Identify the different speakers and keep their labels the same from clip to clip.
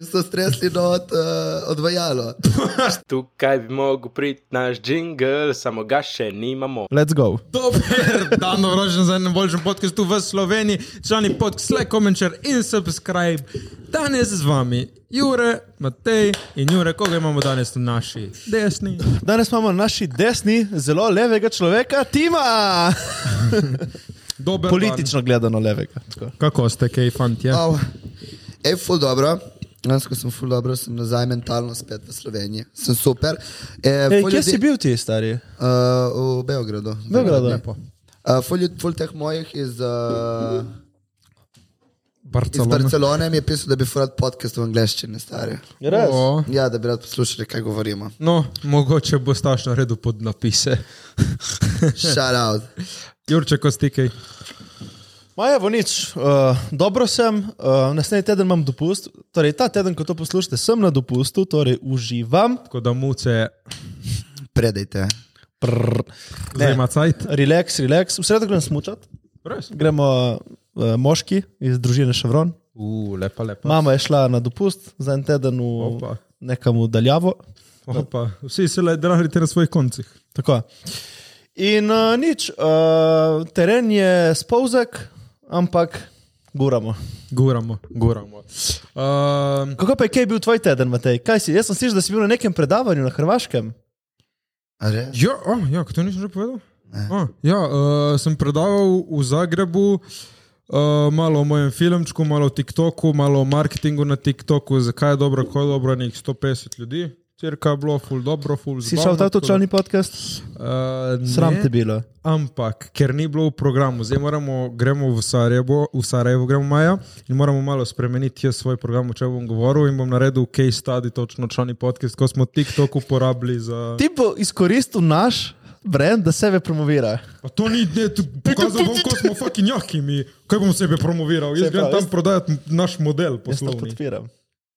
Speaker 1: so stresli not uh, odvajalo.
Speaker 2: Tukaj bi mogel priti naš jingle, samo ga še nimamo.
Speaker 3: Let's go.
Speaker 4: Dober dan, dobrodošli za enem boljšem podkastu v Sloveniji, člani podcast, like, komentar in subscribe. Danes z vami Jure, Matej in Jure, koga imamo danes na naši desni.
Speaker 3: Danes imamo na naši desni zelo levega človeka, Tima.
Speaker 4: Dober
Speaker 3: Politično gledano levega. Tako.
Speaker 4: Dan. Kako ste, kaj fantje?
Speaker 1: Ja. Au. Ej, ful dobro. Danes, ko sem ful dobro, sem nazaj mentalno spet v Sloveniji. Sem super. E,
Speaker 3: Ej,
Speaker 1: ful
Speaker 3: kje
Speaker 1: ljudi-
Speaker 3: si bil ti, stari?
Speaker 1: Uh, v Beogradu.
Speaker 3: Beogradu.
Speaker 4: Lepo.
Speaker 1: Uh, ful, ljud- ful teh mojih iz, uh, iz
Speaker 4: Barcelona.
Speaker 1: Barcelone mi je pisal, da bi furat podcast v angleščini, stari.
Speaker 4: O,
Speaker 1: Ja, da bi rad poslušali, kaj govorimo.
Speaker 4: No, mogoče bo staš na redu pod napise.
Speaker 1: Shout out.
Speaker 4: Jurče, ko stikaj.
Speaker 3: Ma evo nič, uh, dobro sem, uh, naslednji teden imam dopust, torej ta teden, ko to poslušate, sem na dopustu, torej uživam.
Speaker 4: Tako da muce,
Speaker 1: Predajte.
Speaker 3: Prr.
Speaker 4: zdaj ima cajt.
Speaker 3: Relax, relax, v sredo grem smučat,
Speaker 4: Res.
Speaker 3: gremo uh, moški iz družine Ševron.
Speaker 4: U, lepa, lepa.
Speaker 3: Mama je šla na dopust za en teden v
Speaker 4: Opa.
Speaker 3: nekam v daljavo.
Speaker 4: Opa. Vsi se le drahite na svojih koncih.
Speaker 3: Tako. In uh, nič, uh, teren je spolzek, ampak guramo.
Speaker 4: Guramo, guramo. Um,
Speaker 3: Kako pa je, kaj je bil tvoj teden, Matej? Kaj si? Jaz sem slišal, da si bil na nekem predavanju na Hrvaškem.
Speaker 1: A res?
Speaker 4: Ja, oh, ja kaj to nisem že povedal? Oh, ja, uh, sem predaval v Zagrebu. Uh, malo o mojem filmčku, malo o TikToku, malo o marketingu na TikToku, zakaj je dobro, ko je dobro, nek 150 ljudi, cirka je bilo, ful dobro, ful
Speaker 3: Si
Speaker 4: zabavno,
Speaker 3: šel v ta
Speaker 4: tako da-
Speaker 3: točni podcast?
Speaker 4: Uh,
Speaker 3: Sram
Speaker 4: ne,
Speaker 3: te bilo.
Speaker 4: Ampak, ker ni bilo v programu, zdaj moramo, gremo v Sarajevo, v Sarajevo gremo maja in moramo malo spremeniti jaz svoj program, o čem bom govoril in bom naredil case study, točno člani podcast, ko smo TikTok uporabili za...
Speaker 3: Ti bo izkoristil naš brand, da sebe promovira.
Speaker 4: Pa to ni, ne, tu pokazal bom, ko smo fucking jahki, mi, kaj bom sebe promoviral, jaz
Speaker 3: Saj
Speaker 4: grem
Speaker 3: prav,
Speaker 4: tam
Speaker 3: jaz-
Speaker 4: prodajati naš model
Speaker 3: Jaz to
Speaker 4: poslovni.
Speaker 3: podpiram.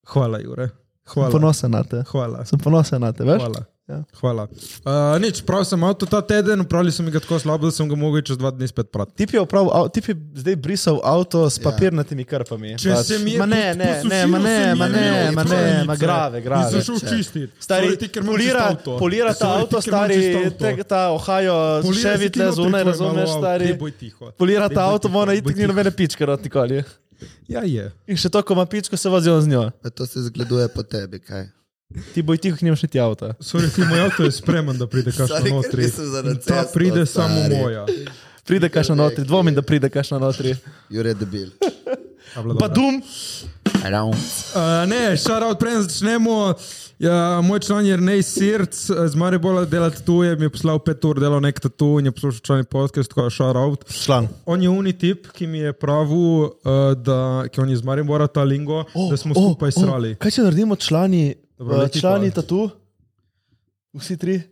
Speaker 4: Hvala, Jure.
Speaker 3: Sem
Speaker 4: Hvala.
Speaker 3: ponosen na te.
Speaker 4: Hvala.
Speaker 3: Sem ponosen na te, veš?
Speaker 4: Hvala.
Speaker 3: Ja.
Speaker 4: Hvala. Uh, nič, prav sem avto ta teden, upravili sem ga tako slabo, da sem ga mogel čez dva dni spet prati.
Speaker 3: Tip je, oprav, tip je zdaj brisal avto s
Speaker 1: Ja.
Speaker 3: papirnatimi krpami.
Speaker 4: Če
Speaker 3: Pač.
Speaker 4: se mi je
Speaker 3: Ma ne, ne,
Speaker 4: posušilo,
Speaker 3: ne, ma
Speaker 4: se mi
Speaker 3: ne,
Speaker 4: je
Speaker 3: ma ne,
Speaker 4: imelo
Speaker 3: ma ne,
Speaker 4: pravljice.
Speaker 3: ma grave, grave.
Speaker 4: Nisem šel čistit.
Speaker 3: Stari,
Speaker 4: Sorry, ti, ker imam čisto
Speaker 3: polira,
Speaker 4: avto.
Speaker 3: polira ta
Speaker 4: Sorry,
Speaker 3: avto,
Speaker 4: ti, ker imam čisto
Speaker 3: stari,
Speaker 4: avto.
Speaker 3: te, ta Ohio,
Speaker 4: Poliraj
Speaker 3: še
Speaker 4: si ti
Speaker 3: vidite
Speaker 4: notri, ko
Speaker 3: zunaj,
Speaker 4: je malo avto.
Speaker 3: razumeš,
Speaker 4: Daj,
Speaker 3: stari.
Speaker 4: boj tiho.
Speaker 3: Polira
Speaker 4: Daj,
Speaker 3: ta
Speaker 4: boj
Speaker 3: avto,
Speaker 4: tiho,
Speaker 3: mora
Speaker 4: boj
Speaker 3: itek ni
Speaker 4: tiho.
Speaker 3: nobene pičke, rot nikoli.
Speaker 4: Ja, je.
Speaker 3: no, In še to, ko ima pičko, se vozi on z njo.
Speaker 1: Pa To se zgleduje po tebi, kaj?
Speaker 3: Ti boj tiho, k njemu še ti avta.
Speaker 4: Sorry, ti moj avto je spreman, da pride
Speaker 1: Sorry,
Speaker 4: kakšno
Speaker 1: ker
Speaker 4: notri.
Speaker 1: nisem za na
Speaker 4: In Ta
Speaker 1: cesto,
Speaker 4: pride samo
Speaker 1: stari.
Speaker 4: moja.
Speaker 3: Pride kašna notri, dvomim, da pride kašna notri.
Speaker 1: Jure debil.
Speaker 4: Ta bila
Speaker 3: Pa
Speaker 4: dobra.
Speaker 3: dum,
Speaker 1: Around.
Speaker 4: Uh, ne, šarovt, preden začnemo. Ja, moj član Jrnej Sirc eh, z Maribola delati tu je, mi je poslal pet ur delal nek tatu in je poslušal člani podcast, tako šarovt.
Speaker 3: član.
Speaker 4: On je uni tip, ki mi je pravil, eh, da, ki on je z Maribora ta lingo, oh, da smo skupaj oh, srali.
Speaker 3: Kaj če naredimo člani,
Speaker 4: Dobro,
Speaker 3: eh,
Speaker 4: leti
Speaker 3: člani
Speaker 4: pa.
Speaker 3: tatu? Vsi tri?
Speaker 4: Oh.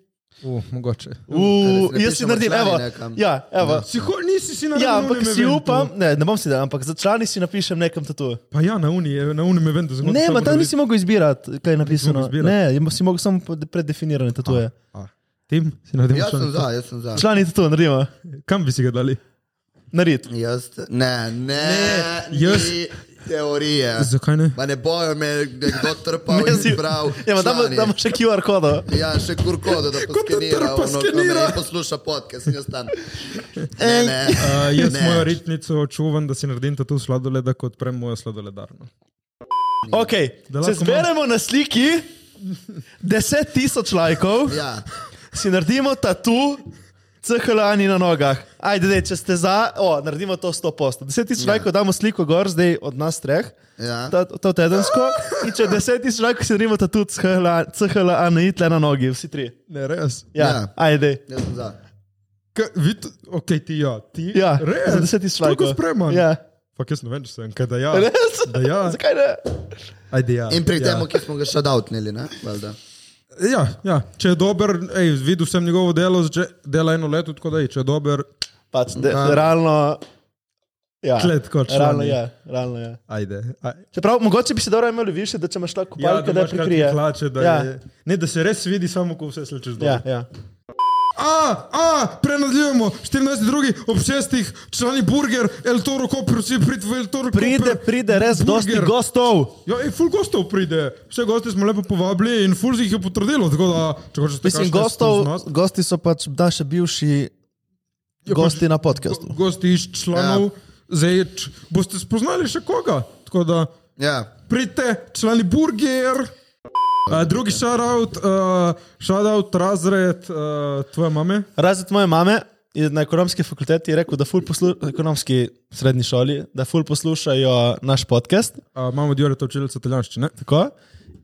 Speaker 4: Uh, mogoče.
Speaker 3: U,
Speaker 1: napišemo
Speaker 3: jaz si naredim,
Speaker 1: člani
Speaker 3: evo.
Speaker 1: nekam.
Speaker 3: Ja, evo.
Speaker 4: Si ho, nisi si na
Speaker 3: Ja,
Speaker 4: na
Speaker 3: ampak
Speaker 4: unem
Speaker 3: si
Speaker 4: eventu.
Speaker 3: upam, ne, ne bom si dal, ampak za člani si napišem nekam tatu.
Speaker 4: Pa ja, na uni, eh, na uni me vem, da zelo
Speaker 3: Ne, ma tam nisi mogel izbirati, kaj je napisano.
Speaker 4: izbirati.
Speaker 3: Ne, ima- si mogel samo pod- predefinirane tatuje.
Speaker 4: Tim, si na tem
Speaker 3: Ja,
Speaker 1: Jaz sem
Speaker 4: šel.
Speaker 1: za, jaz sem za.
Speaker 3: Člani tatu, naredimo.
Speaker 4: Kam bi si ga dali?
Speaker 3: Nared.
Speaker 1: Jaz, ne, ne,
Speaker 4: Ne,
Speaker 1: ni
Speaker 4: jaz-
Speaker 1: Teorije.
Speaker 3: Eh.
Speaker 4: Zakaj ne?
Speaker 1: Ma ne bojo me nekdo trpal
Speaker 3: Ne,
Speaker 1: in
Speaker 3: si-
Speaker 1: zbral.
Speaker 3: Ja, ma damo,
Speaker 1: člani.
Speaker 3: damo še QR kodo.
Speaker 1: Ja, še kurkodo, da poskenira,
Speaker 4: trpa
Speaker 1: ono, ko
Speaker 4: skenira.
Speaker 1: me posluša podcast, jaz tam. Ne, ne.
Speaker 4: Uh, jaz
Speaker 1: Ne.
Speaker 4: mojo ritnico čuvam, da si naredim tatu sladoleda, kot odprem mojo sladoledarno.
Speaker 3: Ok,
Speaker 4: Da lahko
Speaker 3: če zberemo na sliki 10 tisoč lajkov,
Speaker 1: Ja,
Speaker 3: si naredimo tatu. Cehlani na nogah. Ajde, dej, če ste za, o, naredimo to 100%. 10 tisoč
Speaker 4: Ja.
Speaker 3: lajkov damo sliko gor, zdaj od nas treh,
Speaker 1: ja.
Speaker 3: ta, to tedensko. In če 10 tisoč lajkov si naredimo tatu, cehlani na itle na nogi, vsi tri.
Speaker 4: Ne, res.
Speaker 3: Ja,
Speaker 1: Ja.
Speaker 3: ja. ajde.
Speaker 1: Jaz sem za.
Speaker 4: Ka, vid, ok, ti ja, ti.
Speaker 3: Ja,
Speaker 4: res.
Speaker 3: za 10 tisoč lajkov.
Speaker 4: Tako spreman.
Speaker 3: Ja.
Speaker 4: Fak, jaz ne vem, če sem, kaj da ja.
Speaker 3: Res?
Speaker 4: Da ja.
Speaker 3: Zakaj ne?
Speaker 4: Ajde, ja.
Speaker 1: In pri
Speaker 4: ja.
Speaker 1: tem, ki smo ga še doutnili, ne? Valjda.
Speaker 4: Ja, ja, če je dober, ej, videl sem njegovo delo, že dela eno leto, tako da je, če je dober,
Speaker 3: Pač, de,
Speaker 1: Ja.
Speaker 3: realno. Ja,
Speaker 4: Klet kot člani.
Speaker 3: realno je. Realno je.
Speaker 4: ajde. A,
Speaker 3: Čeprav mogoče bi se dobro imeli više, da če imaš tako kupalke, ja, da, da
Speaker 4: imaš kakšne
Speaker 3: prikrije.
Speaker 4: Hlače, da,
Speaker 3: ja.
Speaker 4: ja. je, ne, da se res vidi, samo ko vse slečeš dol.
Speaker 3: Ja, ja.
Speaker 4: A, a, prenadljujemo, 14. drugi, ob 6. člani burger, El Toro Koper, vsi prid v El Toro
Speaker 3: Pride,
Speaker 4: Koper.
Speaker 3: pride res dosti
Speaker 4: Burger.
Speaker 3: gostov.
Speaker 4: Ja, in ful gostov pride, vse goste smo lepo povabili in ful si jih je potrdilo, tako da, če hočeš,
Speaker 3: Mislim, gostov, gosti so pač naši bivši
Speaker 4: Ja,
Speaker 3: gosti
Speaker 4: pač-
Speaker 3: na podkastu.
Speaker 4: Gosti iz članov, ja. zdaj č- boste spoznali še koga, tako da
Speaker 1: Ja.
Speaker 4: pridite, člani burger. Uh, drugi šarout, uh, šarout razred uh, tvoje mame.
Speaker 3: Razred moje mame je na ekonomski fakulteti je rekel, da ful poslušajo, ekonomski srednji šoli, da ful poslušajo naš podcast.
Speaker 4: Uh, mamo Diore, to učiteljica italijanščine.
Speaker 3: Tako.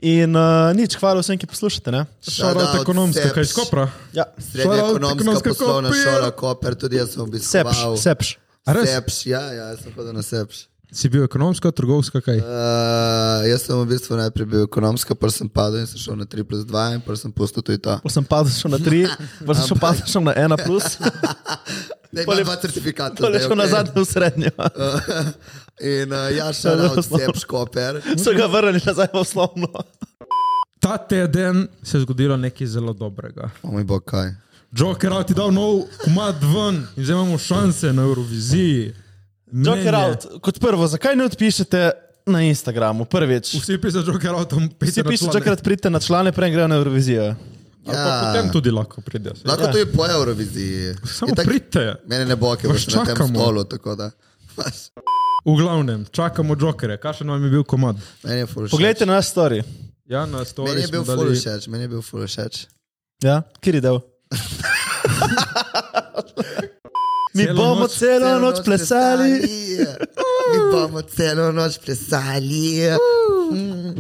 Speaker 3: In uh, nič, hvala vsem, ki poslušate. Ne?
Speaker 1: Shout
Speaker 4: Šarout
Speaker 1: out
Speaker 4: ekonomska, kaj iz
Speaker 1: Seps.
Speaker 4: Kopra.
Speaker 3: Ja,
Speaker 1: Srednja
Speaker 4: Šola
Speaker 1: ekonomska
Speaker 4: ekonomska
Speaker 1: poslovna
Speaker 4: kopija.
Speaker 1: šola Koper, tudi jaz sem
Speaker 3: sepš,
Speaker 1: obiskoval.
Speaker 3: sepš.
Speaker 4: A res?
Speaker 1: Sepš, ja, ja, jaz sem hodil na sepš.
Speaker 4: Si bil ekonomska, trgovska, kaj?
Speaker 1: Uh, jaz sem v bistvu najprej bil ekonomska, pa sem padel in sem šel na 3 plus 2 in pa sem pustil tudi ta.
Speaker 3: Pol sem padel še na 3, pa sem še padel še na 1, plus,
Speaker 1: Ne,
Speaker 3: Pol
Speaker 1: imam
Speaker 3: je-
Speaker 1: dva certifikata.
Speaker 3: pa le
Speaker 1: zdaj,
Speaker 3: še na
Speaker 1: okej.
Speaker 3: zadnjo srednjo.
Speaker 1: In uh, ja, šel
Speaker 3: Zelo
Speaker 1: na
Speaker 3: slabo.
Speaker 1: sepš Koper.
Speaker 3: So ga vrnili nazaj v osnovno.
Speaker 4: Ta teden se je zgodilo nekaj zelo dobrega.
Speaker 1: O moj bog, kaj.
Speaker 4: Joker out je dal nov komad ven in zdaj imamo šanse na Euroviziji. Mnenje.
Speaker 3: Joker out, kot prvo, zakaj ne odpišete na Instagramu? Prvič.
Speaker 4: Vsi pišejo Joker out, tam
Speaker 3: Vsi
Speaker 4: pišejo
Speaker 3: pišete, čakrat pridite na člane, prej grejo na Eurovizijo.
Speaker 1: Ja.
Speaker 4: Potem tudi lahko pride. saj.
Speaker 1: Lahko ja. tudi po Euroviziji.
Speaker 4: Samo
Speaker 1: In
Speaker 4: tak... pridite.
Speaker 1: Mene ne bo, ker
Speaker 4: Vas
Speaker 1: boš na tem
Speaker 4: čakamo.
Speaker 1: stolu, tako da.
Speaker 4: V glavnem, čakamo Jokerja. Kakšen vam je bil komad?
Speaker 1: Meni je ful všeč.
Speaker 3: Poglejte na naš story.
Speaker 4: Ja, na story.
Speaker 1: Meni je bil
Speaker 4: smo
Speaker 1: ful všeč, meni je bil ful všeč.
Speaker 3: Ja, kjer je del? Mi
Speaker 4: Celo
Speaker 3: bomo
Speaker 4: noč-
Speaker 3: celo noč plesali.
Speaker 1: Mi bomo celo noč plesali. Mm.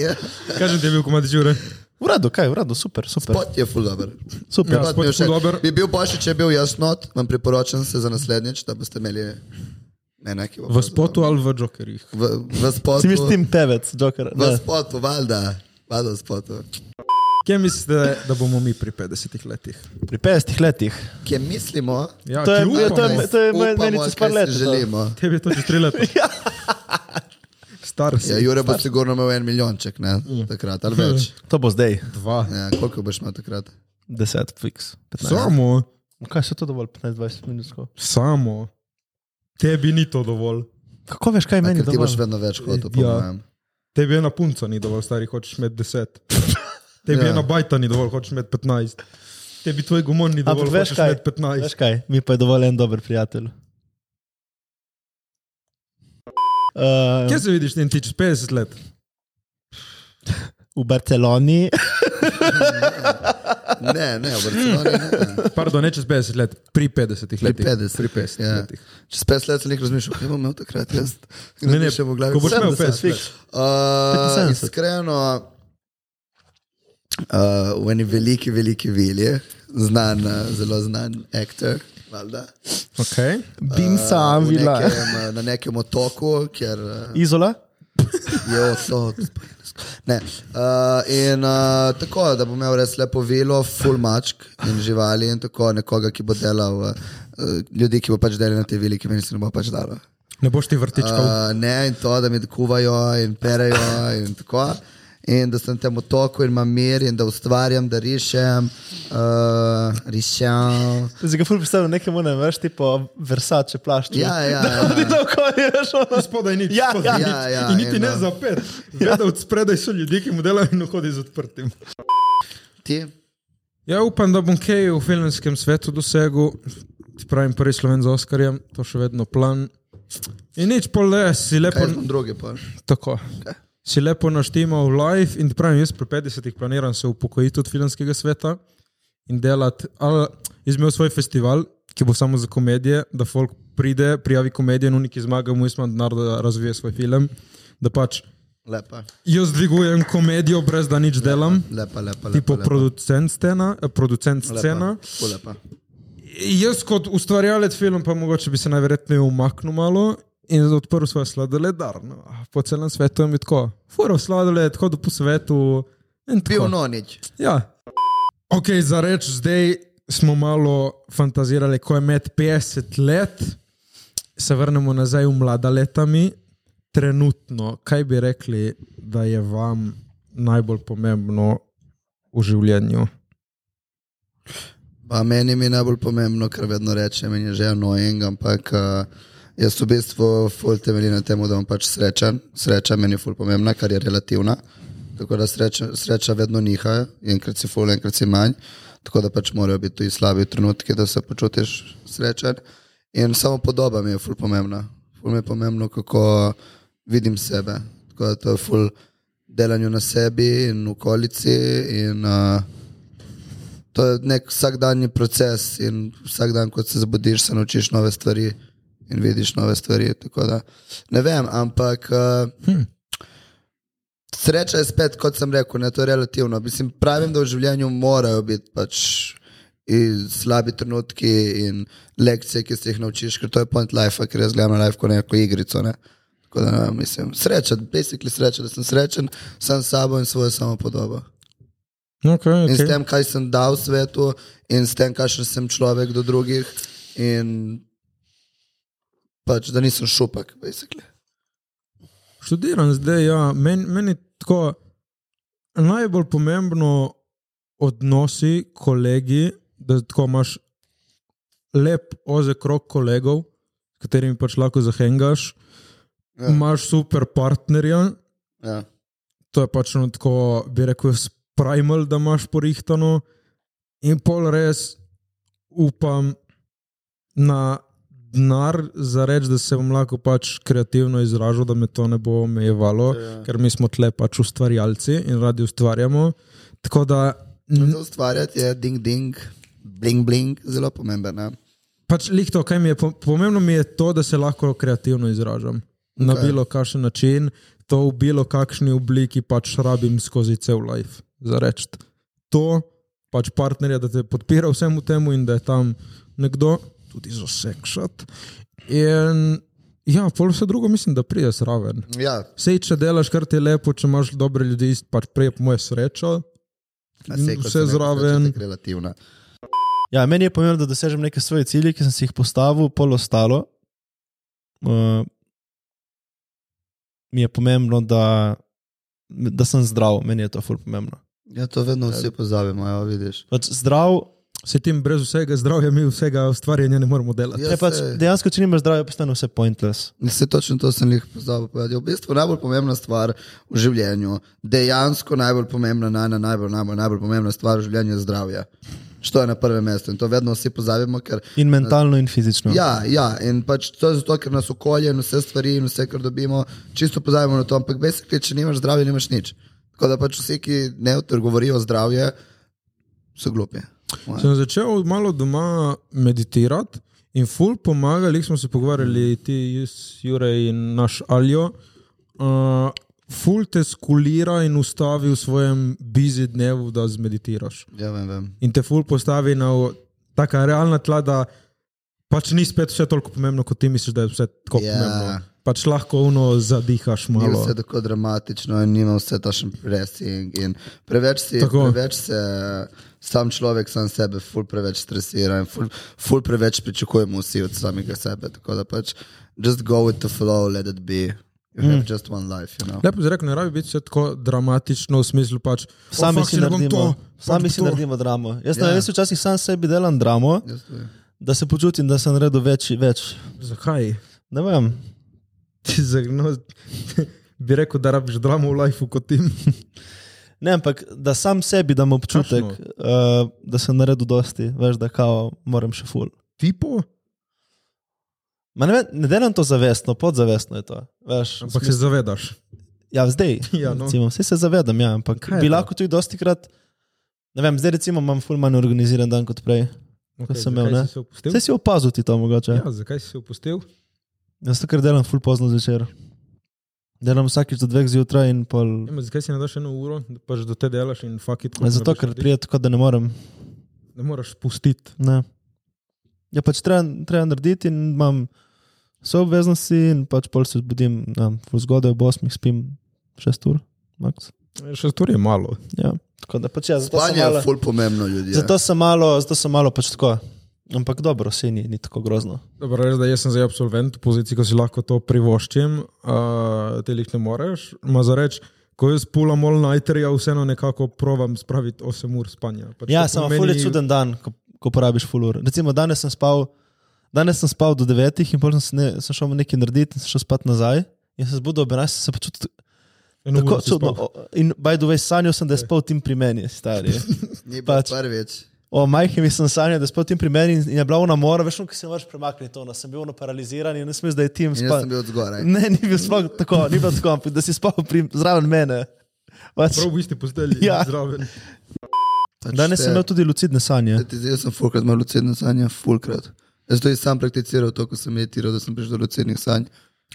Speaker 1: Ja.
Speaker 4: Kažem, da je bil komad žure.
Speaker 3: V redu, kaj, v redu, super, super.
Speaker 1: Pot je ful dober.
Speaker 3: super.
Speaker 4: Ja.
Speaker 1: Pot mi
Speaker 4: spot
Speaker 1: je
Speaker 4: je ful
Speaker 1: všeč.
Speaker 4: dober.
Speaker 1: Bi bil boljši, če je bil jaz not, vam priporočam se za naslednjič, da boste imeli mene, ki bo.
Speaker 4: V spotu ali v Jokerjih?
Speaker 1: V, v spotu.
Speaker 3: Si misliš, tim pevec, Joker?
Speaker 1: V
Speaker 3: Ne.
Speaker 1: spotu, valjda. Valjda v spotu.
Speaker 4: Kje mislite, da bomo mi pri 50 letih?
Speaker 3: Pri 50 letih.
Speaker 1: Kje mislimo?
Speaker 4: Ja,
Speaker 3: To je-
Speaker 4: ki
Speaker 3: to je- to
Speaker 4: upamo.
Speaker 3: je- to je meni
Speaker 1: upamo,
Speaker 3: čez
Speaker 1: kaj
Speaker 3: par let,
Speaker 1: si
Speaker 3: to.
Speaker 1: Želimo.
Speaker 4: Tebi je to že tri leta.
Speaker 3: Ja.
Speaker 4: Star si.
Speaker 1: Ja, Jure bo sigurno imel en milijonček, ne? Takrat ali več.
Speaker 3: To bo zdaj.
Speaker 4: Dva.
Speaker 1: Ja, koliko boš imel takrat?
Speaker 3: 10, fiks. 15.
Speaker 4: Samo,
Speaker 3: Kaj se to dovolj, 15-20 minut? skoro?
Speaker 4: samo. Tebi ni to dovolj.
Speaker 3: Kako veš, kaj meni
Speaker 1: Ker ti boš
Speaker 3: dovolj?
Speaker 1: vedno več hotel, po
Speaker 4: Ja.
Speaker 1: mojem.
Speaker 4: Tebi ena punca ni dovolj, stari hočeš med 10. Tebi
Speaker 1: Ja.
Speaker 4: ja. ena bajta ni dovolj, hočeš med 15. Tebi tvoj gumon ni dovolj,
Speaker 3: Ampak veš
Speaker 4: hočeš
Speaker 3: kaj?
Speaker 4: med 15.
Speaker 3: Veš kaj, mi pa je dovolj en dober prijatelj. Uh,
Speaker 4: Kje se vidiš, ti in ti čez 50 let?
Speaker 3: Uh, v Barceloni.
Speaker 1: Ne, ne, v Barceloni ne.
Speaker 4: Pardon, ne čez 50 let, pri 50 letih.
Speaker 1: 50,
Speaker 4: pri 50
Speaker 1: ja.
Speaker 4: letih.
Speaker 1: Čez pet let sem jih razmišljal, kaj bom imel takrat, jaz
Speaker 4: Ne, ne,
Speaker 1: še v glavi.
Speaker 4: ko boš imel
Speaker 1: 70.
Speaker 4: 50 let.
Speaker 1: Uh,
Speaker 3: 75.
Speaker 1: iskreno, uh, v eni veliki, veliki vilji, znan, uh, zelo znan akter, valjda.
Speaker 4: Okay.
Speaker 3: Dimsa
Speaker 1: Eh, v
Speaker 3: Avila.
Speaker 1: nekem, uh, Na nekem otoku, kjer uh,
Speaker 3: Izola?
Speaker 1: je otok. Ne. Uh, in uh, tako, da bo imel res lepo vilo, full mačk in živali in tako nekoga, ki bo delal, uh, uh, ljudi, ki bo pač delal na te vili, ki meni se ne bo pač dalo.
Speaker 4: Ne boš ti vrtičkal. Uh,
Speaker 1: Uh, ne, in to, da mi kuvajo in perejo in tako. In da sem tam v toku in imam mir, in da ustvarjam, da rišem, uh, rišem.
Speaker 3: Zdaj ga ful predstavljam nekemu, ne veš, tipo Versace plašč.
Speaker 1: Ja, ja, ja.
Speaker 3: Ti to okolje veš, ono.
Speaker 4: Spodaj ni.
Speaker 3: Ja,
Speaker 4: spodaj
Speaker 3: ja.
Speaker 4: nič.
Speaker 1: Ja, ja,
Speaker 4: in niti
Speaker 1: in,
Speaker 4: ne
Speaker 1: uh,
Speaker 4: za pet. Zvedaj od spredaj so ljudje, ki mu delajo in hodi z odprtim.
Speaker 1: Ti?
Speaker 4: Ja, upam, da bom kaj v filmskem svetu dosegel. Ti Pravim, prvi sloven za Oskarjem, to še vedno plan. In nič pol le, si lepo,
Speaker 1: Kaj smo drugi pa?
Speaker 4: tako, si lepo naštimal live in ti pravim, jaz pri 50-ih planiram se upokojiti od filmskega sveta in delati, ali izmel svoj festival, ki bo samo za komedije, da folk pride, prijavi komedijo in unik zmaga, mu izman denar, da razvije svoj film, da pač
Speaker 1: Lepa,
Speaker 4: jaz dvigujem komedijo brez da nič delam.
Speaker 1: lepa, lepa. lepa
Speaker 4: Tipo
Speaker 1: lepa.
Speaker 4: producent scena, eh, producent scena.
Speaker 1: Lepa, ful lepa.
Speaker 4: Jaz kot ustvarjalec filma, pa mogoče bi se najverjetneje umaknil malo in odprl svojo sladoledarno. no, Po celem svetu je mi tako, furo sladoled, hodil po svetu. in tako.
Speaker 1: Bil no. nonič.
Speaker 4: Ja. Ok, za reč, zdaj smo malo fantazirali, ko je med 50 let, se vrnemo nazaj v mlada letami. Trenutno, kaj bi rekli, da je vam najbolj pomembno v življenju?
Speaker 1: Pa meni mi je najbolj pomembno, kar vedno rečem, in je že annoying, ampak uh, jaz v bistvu ful temelji na tem, da bom pač srečen. Sreča meni je ful pomembna, kar je relativna. Tako da sreča, sreča vedno niha, enkrat si ful, enkrat si manj. Tako da pač morajo biti tudi slabi trenutki, da se počutiš srečen. In samo podoba mi je ful pomembna. Ful mi je pomembno, kako vidim sebe. Tako da to je ful delanju na sebi in okolici. In, uh, to je nek vsakdanji proces in vsak dan, ko se zbudiš, se naučiš nove stvari in vidiš nove stvari. Tako da, ne vem, ampak uh, hmm. sreča je spet, kot sem rekel, ne to je relativno. Mislim, pravim, da v življenju morajo biti pač. In slabi trenutki, in lekcije, ki se jih naučiš, ker to je point life, ker jaz gledam na life kot neko igrico. Ne? Tako da, ne, vem, mislim, srečen, basically srečen, da sem srečen, sam s sabo in svojo samopodobo.
Speaker 4: Okay,
Speaker 1: In s
Speaker 4: okay.
Speaker 1: tem, kaj sem dal svetu, in s tem, kakšen sem človek do drugih, in pač, da nisem šupak. basically.
Speaker 4: Študiram zdaj, ja, meni, meni tako najbolj pomembno odnosi, kolegi, da tako imaš lep oze krok kolegov, s katerimi pač lahko zahengaš,
Speaker 1: Ja.
Speaker 4: ja. imaš super partnerja,
Speaker 1: Ja.
Speaker 4: to je pač ono tako, bi rekel, primal, da imaš porihtano. In pol res upam na denar za reči, da se bom lahko pač kreativno izražal, da me to ne bo omejevalo, ja. ker mi smo tle pač ustvarjalci in radi ustvarjamo. Tako da. n-
Speaker 1: Za ustvarjati je ding ding, bling bling, zelo pomemben. ne?
Speaker 4: Pač lihto, kaj mi je po- pomembno, mi je to, da se lahko kreativno izražam. Na
Speaker 1: Okej.
Speaker 4: bilo kakšen način, to v bilo kakšni obliki pač rabim skozi cel life. Za reči to, pač partnerja, da te podpira vsemu temu in da je tam nekdo, tudi za sekšat. In ja, pol vse drugo mislim, da pride sraven.
Speaker 1: Ja,
Speaker 4: Sej, če delaš kar ti je lepo, če imaš dobre ljudi, pač prej je po moje srečo.
Speaker 1: a sej, kot
Speaker 4: Vse
Speaker 1: sem rekel,
Speaker 4: zraven.
Speaker 1: sreča je tako Relativna.
Speaker 3: Ja, meni je pomembno, da dosežem neke svoje cilje, ki sem si jih postavil, pol ostalo. Uh, mi je pomembno, da, da sem zdrav, meni je to fur pomembno.
Speaker 1: Ja, to vedno vsi pozabimo, ja, vidiš.
Speaker 3: Pač zdrav,
Speaker 4: Se tim brez vsega zdravja, mi vsega ustvarjanja ne moremo delati.
Speaker 1: Ja,
Speaker 3: ja, pač,
Speaker 1: saj.
Speaker 3: dejansko, če nimaš zdravja, postane vse pointless.
Speaker 1: Se točno to sem jih pozabil povedati. V bistvu najbolj pomembna stvar v življenju, dejansko najbolj pomembna, najna, najbolj, najbolj, najbolj pomembna stvar v življenju je zdravje. Što je na prvem mestu in to vedno vsi pozabimo, ker
Speaker 3: In mentalno, in fizično.
Speaker 1: Ja, ja, in pač to je zato, ker nas okolje in vse stvari in vse, kar dobimo, čisto pozabimo na to. Ampak, basically, če nimaš zdravja, nimaš nič. Tako da pač vsi, ki ne govorijo o zdravju, so glupi. Ja.
Speaker 4: Sem začel malo doma meditirati in ful pomaga, lih smo se pogovarjali,
Speaker 3: Mm.
Speaker 4: ti, jaz, Jurej in naš Aljo. Uh, ful te skulira in ustavi v svojem bizi dnevu, da zmeditiraš.
Speaker 1: Ja, vem, vem.
Speaker 4: In te ful postavi na v- taka realna tla, da pač ni spet vse toliko pomembno, kot ti misliš, da je vse tako
Speaker 1: Ja.
Speaker 4: yeah. pomembno. Pač lahko uno zadihaš
Speaker 1: Ni
Speaker 4: malo.
Speaker 1: vse tako dramatično in nima vse tašen pressing. in Preveč, si,
Speaker 4: Tako.
Speaker 1: preveč se sam človek, sam sebe, ful preveč stresira in ful, ful preveč pričakujemo vsi od samega sebe. Tako da pač just go with the flow, let it be. You have mm. just one life, you know.
Speaker 4: Lepo je rekel, ne rabi biti vse tako dramatično v smislu pač. "O,
Speaker 3: Sami
Speaker 4: fuck,
Speaker 3: si
Speaker 4: ne bom
Speaker 3: naredimo,
Speaker 4: to,
Speaker 3: sami
Speaker 4: fuck
Speaker 3: si
Speaker 4: to."
Speaker 3: naredimo dramo. Jaz,
Speaker 1: Ja.
Speaker 3: ja. jaz včasih sam sebi delam dramo,
Speaker 1: Jaz tudi.
Speaker 3: da se počutim, da sem naredil več. več.
Speaker 4: Zakaj?
Speaker 3: Ne vem.
Speaker 4: Ti zagno, bi rekel, da rabiš dramo v lifeu kot tim.
Speaker 3: Ne, ampak da sam sebi dam občutek, uh, da sem naredil dosti, veš, da kao, moram še ful.
Speaker 4: Tipo,
Speaker 3: Ma ne, vem, ne delam to zavestno, podzavestno je to. Veš,
Speaker 4: ampak
Speaker 3: smis-
Speaker 4: se zavedaš.
Speaker 3: ja, zdaj.
Speaker 4: Ja, no.
Speaker 3: recimo, vse se zavedam, ja, ampak
Speaker 4: Kaj je
Speaker 3: bi
Speaker 4: to?
Speaker 3: lahko tudi dosti krat. Ne vem, zdaj recimo imam ful manj organiziran dan kot prej.
Speaker 4: Okej,
Speaker 3: sem
Speaker 4: zakaj
Speaker 3: imel, ne?
Speaker 4: si se opustil?
Speaker 3: Vse si opazil ti to mogoče. Ja.
Speaker 4: Ja, zakaj si se opustil?
Speaker 3: Jaz to kar delam ful pozno zvečer. Delam vsakič do dveh zjutraj in pol.
Speaker 4: Ja, ma zakaj si ne daš eno uro, da pač do te delaš in fakit?
Speaker 3: Ja, zato, ker prije tako, da ne morem.
Speaker 4: Ne moreš spustiti.
Speaker 3: Ne. Ja, pač treba, treba narediti in imam vse obveznosti, in pač pol se zbudim, ne, ful zgodaj ob 8, spim 6 ur, max.
Speaker 4: Še stori je malo.
Speaker 3: Ja. Tako da pač ja, zato sem
Speaker 1: Spanje
Speaker 3: malo,
Speaker 1: je ful pomembno, ljudje.
Speaker 3: zato sem malo, zato sem malo pač tako. Ampak dobro, se ni, ni tako grozno.
Speaker 4: Dobro, res, da jaz sem zdaj absolvent, v poziciji, ko si lahko to privoščim, uh, te jih ne moreš. Ma za reč, ko jaz pulam all nighterja, vseeno nekako provam spraviti 8 ur spanja. Pač
Speaker 3: Ja,
Speaker 4: to
Speaker 3: samo
Speaker 4: pomeni-
Speaker 3: ful je čuden dan, ko, ko porabiš full ur. Recimo, danes sem spal, danes sem spal do 9 in potem sem, se ne, sem šel nekaj narediti in sem šel spat nazaj. In sem se zbudil ob 11, sem se počutil
Speaker 4: Eno
Speaker 3: tako
Speaker 4: uro si
Speaker 3: čudno.
Speaker 4: spal.
Speaker 3: O, In by the way, sanjal sem, da
Speaker 1: Ja.
Speaker 3: je spal tim pri meni, stari.
Speaker 1: Ni bilo pač.
Speaker 3: Pač.
Speaker 1: prvič.
Speaker 3: O majhnem sem sanjal, da je spal tim pri meni in, in je bila ona mora, veš, no, ki se ne moreš premakniti, ona sem bil ono paraliziran in nisem mislil, da je tim
Speaker 1: In jaz
Speaker 3: spal.
Speaker 1: sem bil od zgoraj.
Speaker 3: Ne, ni bil spal tako, ni bil tako, ampak da si spal pri, zraven mene. Pač,
Speaker 4: Prav v isti postelji,
Speaker 3: Ja.
Speaker 4: ja. zraven.
Speaker 1: Pač
Speaker 3: danes
Speaker 1: te-
Speaker 3: sem imel tudi lucidne sanje.
Speaker 1: Ti zdaj jaz sem fulkrat imel lucidne sanje, fulkrat. Jaz tudi sam prakticiral to, ko sem meditiral, da sem prišel do lucidnih sanj.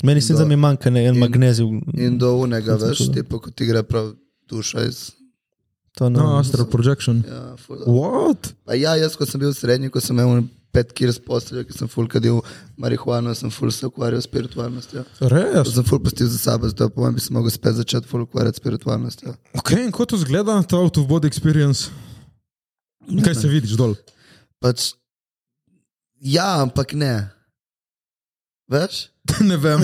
Speaker 3: Meni se zdi, da mi manjka ne, en
Speaker 1: in-
Speaker 3: magnezij.
Speaker 1: In do unega,
Speaker 3: Sem
Speaker 1: veš,
Speaker 3: čudo.
Speaker 1: tipo, ko ti gre prav duša iz.
Speaker 3: To ne.
Speaker 4: No, astral projection.
Speaker 1: Ja, ful dobro.
Speaker 4: What?
Speaker 1: Pa ja, jaz, ko sem bil v srednji, ko sem imel pet kir s posteljo, ki sem ful kadil marihuano, sem ful se ukvarjal s spiritualnostjo. To
Speaker 4: Res.
Speaker 1: sem ful pustil za sabo, zato po mojem bi se lahko spet začel ful ukvarjati s spiritualnostjo.
Speaker 4: Ok, in kako to zgleda, ta out of body experience? Kaj se vidiš dol?
Speaker 1: Pač, ja, ampak ne. Veš?
Speaker 4: ne vem.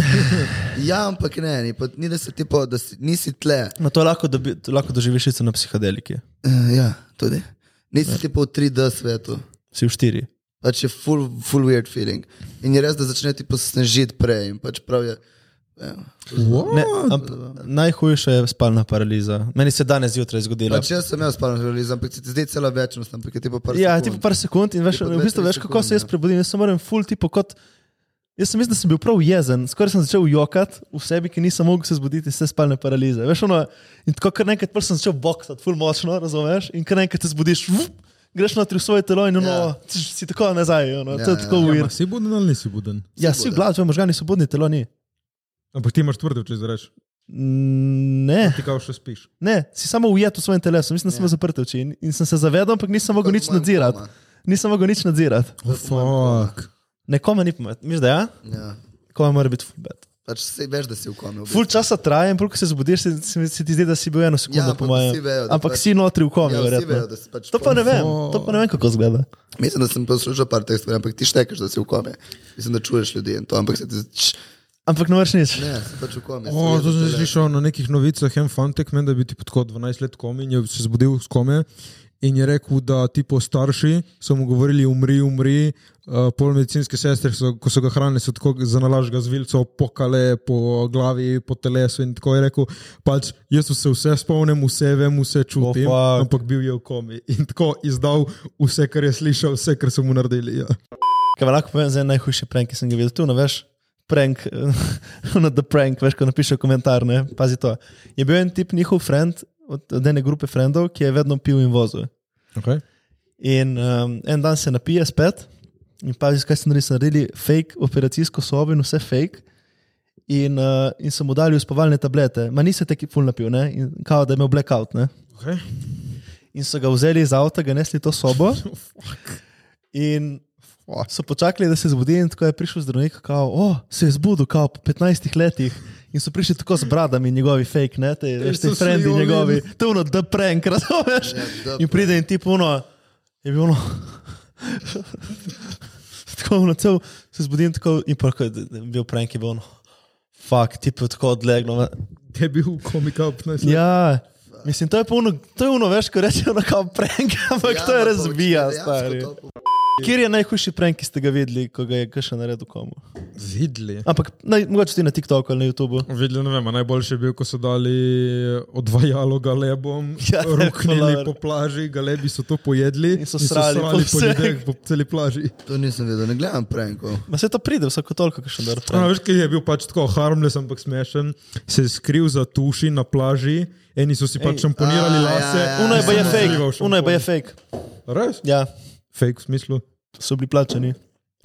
Speaker 1: Ja, ampak ne, ni, pa, ni da se tipo, da si, nisi tle.
Speaker 3: No, to lahko, dobi, to lahko doživiš sicer na psihadeliki.
Speaker 1: Uh, ja, tudi. Nisi
Speaker 3: Ja.
Speaker 1: tipo v 3D svetu.
Speaker 3: Si v štiri.
Speaker 1: Pač je full, full weird feeling. In je res, da začne ti posnežiti prej. in Pač prav je, eh,
Speaker 3: Ne,
Speaker 4: What?
Speaker 1: No,
Speaker 3: amp, najhujša je spalna paraliza. Meni se je danes zjutraj zgodila.
Speaker 1: pač jaz sem imel spalno realizem, ampak se ti zdi cela večnost, ampak je ti pa prvi.
Speaker 3: Ja, ti pa par sekund in veš,
Speaker 1: Tipo
Speaker 3: v bistvu
Speaker 1: 20
Speaker 3: veš, kako se jaz
Speaker 1: sekund, ja.
Speaker 3: prebudim. Jaz sem moram full tipo kot. Jaz sem mislil, da sem bil prav jezen, skoraj sem začel jokati v sebi, ki nisem mogel se zbuditi iz te spalne paralize. Veš, ono, in tako kar naenkrat prvo sem začel boksati, full močno, razumeš? In kar naenkrat se zbudiš, vup, greš notri v svoje telo in ono,
Speaker 1: Ja.
Speaker 3: yeah. si tako nazaj. Ono, yeah, to je
Speaker 1: Ja,
Speaker 3: tako
Speaker 1: ja.
Speaker 4: Ja,
Speaker 3: yeah.
Speaker 4: ma,
Speaker 3: weird.
Speaker 4: si buden ali nisi buden?
Speaker 3: Ja, si v glavi, tvoji možgani so budni, telo ni.
Speaker 4: Ampak ti imaš tvrde, če izrečeš.
Speaker 3: Mm, Ne.
Speaker 4: Ti kao še spiš.
Speaker 3: Ne, si samo ujet v svojem telesu,
Speaker 1: Ja.
Speaker 3: mislim, da sem imel zaprte oči in, in sem se zavedal, ampak nisem mogel nič nadzirati. Nisem mogel nič nadzirati.
Speaker 4: Oh, fuck.
Speaker 3: Nekome ni pamet, misliš, da ja?
Speaker 1: Ja.
Speaker 3: Kome mora biti fulbet.
Speaker 1: Pač si veš, da si v komu.
Speaker 3: Ful časa traja in prvo, ko se zbudiš, se, se, mi- se ti zdi, da si bil eno sekundo,
Speaker 1: Ja,
Speaker 3: po
Speaker 1: ampak
Speaker 3: mojem.
Speaker 1: vsi vejo, da
Speaker 3: Ampak
Speaker 1: pač-
Speaker 3: si notri v komi,
Speaker 1: Ja, vsi vejo,
Speaker 3: verjetno.
Speaker 1: da si pač.
Speaker 3: To pa ne vem,
Speaker 4: Fo-
Speaker 3: to pa ne vem, kako zgleda.
Speaker 1: Mislim, da sem poslušal par teh stvari, ampak ti štekeš, da si v komu. Mislim, da čuješ ljudi in to, ampak se ti zdi, "Č,
Speaker 3: Ampak ne moreš nič.
Speaker 1: ne, si pač v komu.
Speaker 4: O, to sem že slišal na nekih novicah, en fantek, meni da bi ti tako 12 let komi in je se zbudil s kome in je rekel, da ti po starši so mu govorili umri, umri, uh, pol medicinske sestre, so, ko so ga hranili, so tako zanalaž ga z vilco, pokale po glavi, po telesu in tako je rekel, pač jaz se vse spomnim, vse vem, vse čutim,
Speaker 3: Oh,
Speaker 4: oh,
Speaker 3: fuck.
Speaker 4: ampak bil je v komi in tako izdal vse, kar je slišal, vse, kar so mu naredili. Ja.
Speaker 3: Kaj vam lahko povem, zdaj najhujši prank, ki sem ga videl tu, no veš, prank, no the prank, veš, ko napiše komentar, ne, pazi to. Je bil en tip njihov friend, od, od ene grupe frendov, ki je vedno pil in vozil.
Speaker 4: Okay.
Speaker 3: In um, en dan se napije spet, in pazi, kaj so naredili, so naredili fake operacijsko sobo in vse fake. In, uh, in so mu dali uspavalne tablete, ma nisi tako ful napil, ne? In, kao da je imel blackout. Ne?
Speaker 4: Okay.
Speaker 3: In so ga vzeli iz avta, ga nesli v to sobo. In so počakali, da se zbudi, in tako je prišel zdravnik, kao, o, se je zbudil, kao po 15 letih. In so prišli tako z bradami, njegovi fake, ne, te, veš, te
Speaker 4: so se
Speaker 3: frendi
Speaker 4: joli. Ja,
Speaker 3: njegovi, to je ono, da prank, razumeš?
Speaker 1: the
Speaker 3: In pride in ti puno, je bilo ono. tako ono, cel se zbudim tako in pa ko je d- d- bil prank, je bilo ono. Fak, ti pa tako odlegno.
Speaker 4: Te je bil komik up, ne vem.
Speaker 3: Ja. Mislim, to je pa ono, to je ono, veš, ko rečejo, ono kao prank, ampak ja, to je razbija, stari. Kjer je najhujši prank, ki ste ga videli, ko ga je kakšen naredil komu?
Speaker 4: Videli.
Speaker 3: Ampak naj, mogoče ti na TikToku ali na YouTubu.
Speaker 4: Videli, ne vem, a najboljši je bil, ko so dali eh, odvajalo galebom,
Speaker 3: Ja,
Speaker 4: ja, ruknili
Speaker 3: polar.
Speaker 4: po plaži, galebi so to pojedli
Speaker 3: In so srali po
Speaker 4: po
Speaker 3: vseh.
Speaker 4: ljudeh, po celi plaži.
Speaker 1: To nisem videl, ne gledam prankov.
Speaker 3: Ma se to pride, vsako toliko, kakšen dar
Speaker 4: A,
Speaker 3: prank.
Speaker 4: veš, ki je bil pač tako harmless, ampak smešen, se je skril za tuši na plaži, eni so si pač šamponirali
Speaker 1: a,
Speaker 4: lase.
Speaker 1: ja, ja,
Speaker 3: Uno je
Speaker 1: ja.
Speaker 3: pa je
Speaker 4: in so
Speaker 3: fake,
Speaker 4: zalival šampon.
Speaker 3: uno je pa je fake.
Speaker 4: Res?
Speaker 3: Ja,
Speaker 4: Fake v smislu.
Speaker 3: so bili plačani.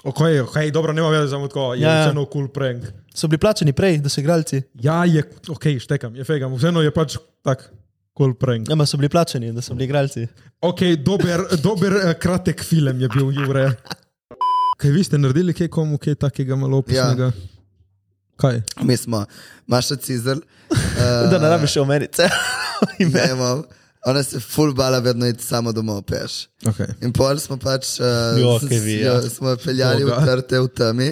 Speaker 4: Ok, okay dobro, nema veze, samo tako, je
Speaker 3: Ja, ja.
Speaker 4: ja. vseeno cool prank.
Speaker 3: So bili plačani prej, da so igralci.
Speaker 4: Ja, je, ok, štekam, je fake, ampak vseeno je pač tak cool prank.
Speaker 3: Ja, ma so bili plačani, da so bili igralci.
Speaker 4: Ok, dober, dober eh, kratek film je bil, Jure. Kaj vi ste naredili, kaj komu, kaj takega malo opisnega? Ja. Kaj?
Speaker 1: Mi smo, Maša Cizel. Eh.
Speaker 3: Uh, da ne rabiš še omeniti.
Speaker 1: Ne, imam. Ona se ful bala vedno iti samo domov peš.
Speaker 4: Okay.
Speaker 1: In pol smo pač uh,
Speaker 3: Jo, kaj vi, ja.
Speaker 1: smo jo peljali v
Speaker 4: Boga.
Speaker 1: trte v temi.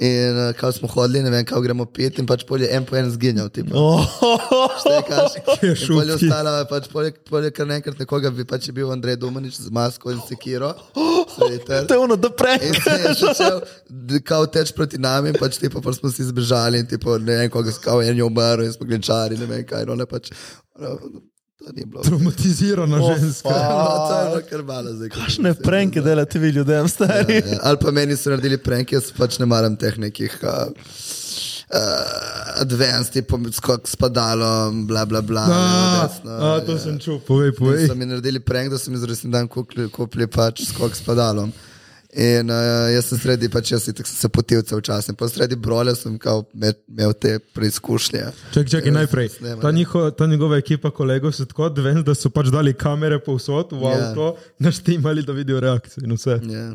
Speaker 1: In uh, kao smo hodili, ne vem, kako gremo pit, in pač polje en po en zginjal. Tipa.
Speaker 4: šutki.
Speaker 1: Polje ostalo je pač polje, polje kar naenkrat nekoga, bi pač je bil Andrej Dumanič z masko in sekiro. Srediter.
Speaker 3: To je ono, da
Speaker 1: In se je
Speaker 3: prej.
Speaker 1: začel d- kao teč proti nam, in pač ti pa smo si zbežali, in ti pa ne vem, koga skao, en je umrl, in smo gledali, ne vem kaj, no ne pač. No, to ni bilo.
Speaker 4: Traumatizirana
Speaker 3: Oh,
Speaker 4: ženska.
Speaker 3: fuck.
Speaker 1: No, to je bilo kar malo zdaj. ko
Speaker 3: Kakšne
Speaker 1: sem se-
Speaker 3: pranke delate vi ljudem, stari?
Speaker 1: Ja, Ali pa meni so naredili prank, jaz pač ne maram teh nekih uh, uh, advanced, tipo skok s padalom, bla bla bla. levo,
Speaker 4: A,
Speaker 1: desno,
Speaker 4: a, to
Speaker 1: ja.
Speaker 4: sem čutil. Povej, povej.
Speaker 1: In So mi naredili prank, da so mi za resni dan kupili, kupili pač skok s padalom. In uh, jaz sem sredi, pač jaz itak sem se potil cel čas, in pa sredi brole sem kao med, imel te preizkušnje.
Speaker 4: Čak, čakaj,
Speaker 1: Ja,
Speaker 4: najprej.
Speaker 1: snemanje.
Speaker 4: Ta, njiho, ta njegova ekipa kolegov so tako odven, da so pač dali kamere povsod v
Speaker 1: Ja.
Speaker 4: avto, naštimali, da vidijo reakcije in vse.
Speaker 1: Ja,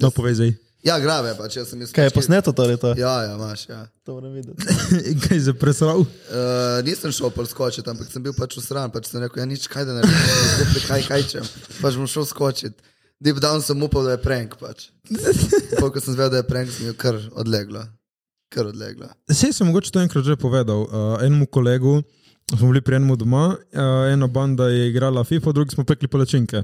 Speaker 4: No, povej zdaj.
Speaker 1: ja grabe, pač jaz sem mislil.
Speaker 3: Kaj je posneto torej to?
Speaker 1: Ja, ja, imaš, ja.
Speaker 3: To moram videti.
Speaker 4: Kaj je presral?
Speaker 1: Uh, nisem šel pol skočiti, ampak sem bil pač usran, pač sem rekel, ja, nič kaj da ne rečem, skupaj kaj kaj čem, pač bom šel skočiti. Deep down sem upal, da je prank pač. Pol, ko sem zvedel, da je prank, sem jo kar odlegla. Kar odlegla.
Speaker 4: Sej sem mogoče to enkrat že povedal. Uh, enemu kolegu smo bili pri enem doma, uh, ena banda je igrala FIFA, drugi smo pekli palačinke.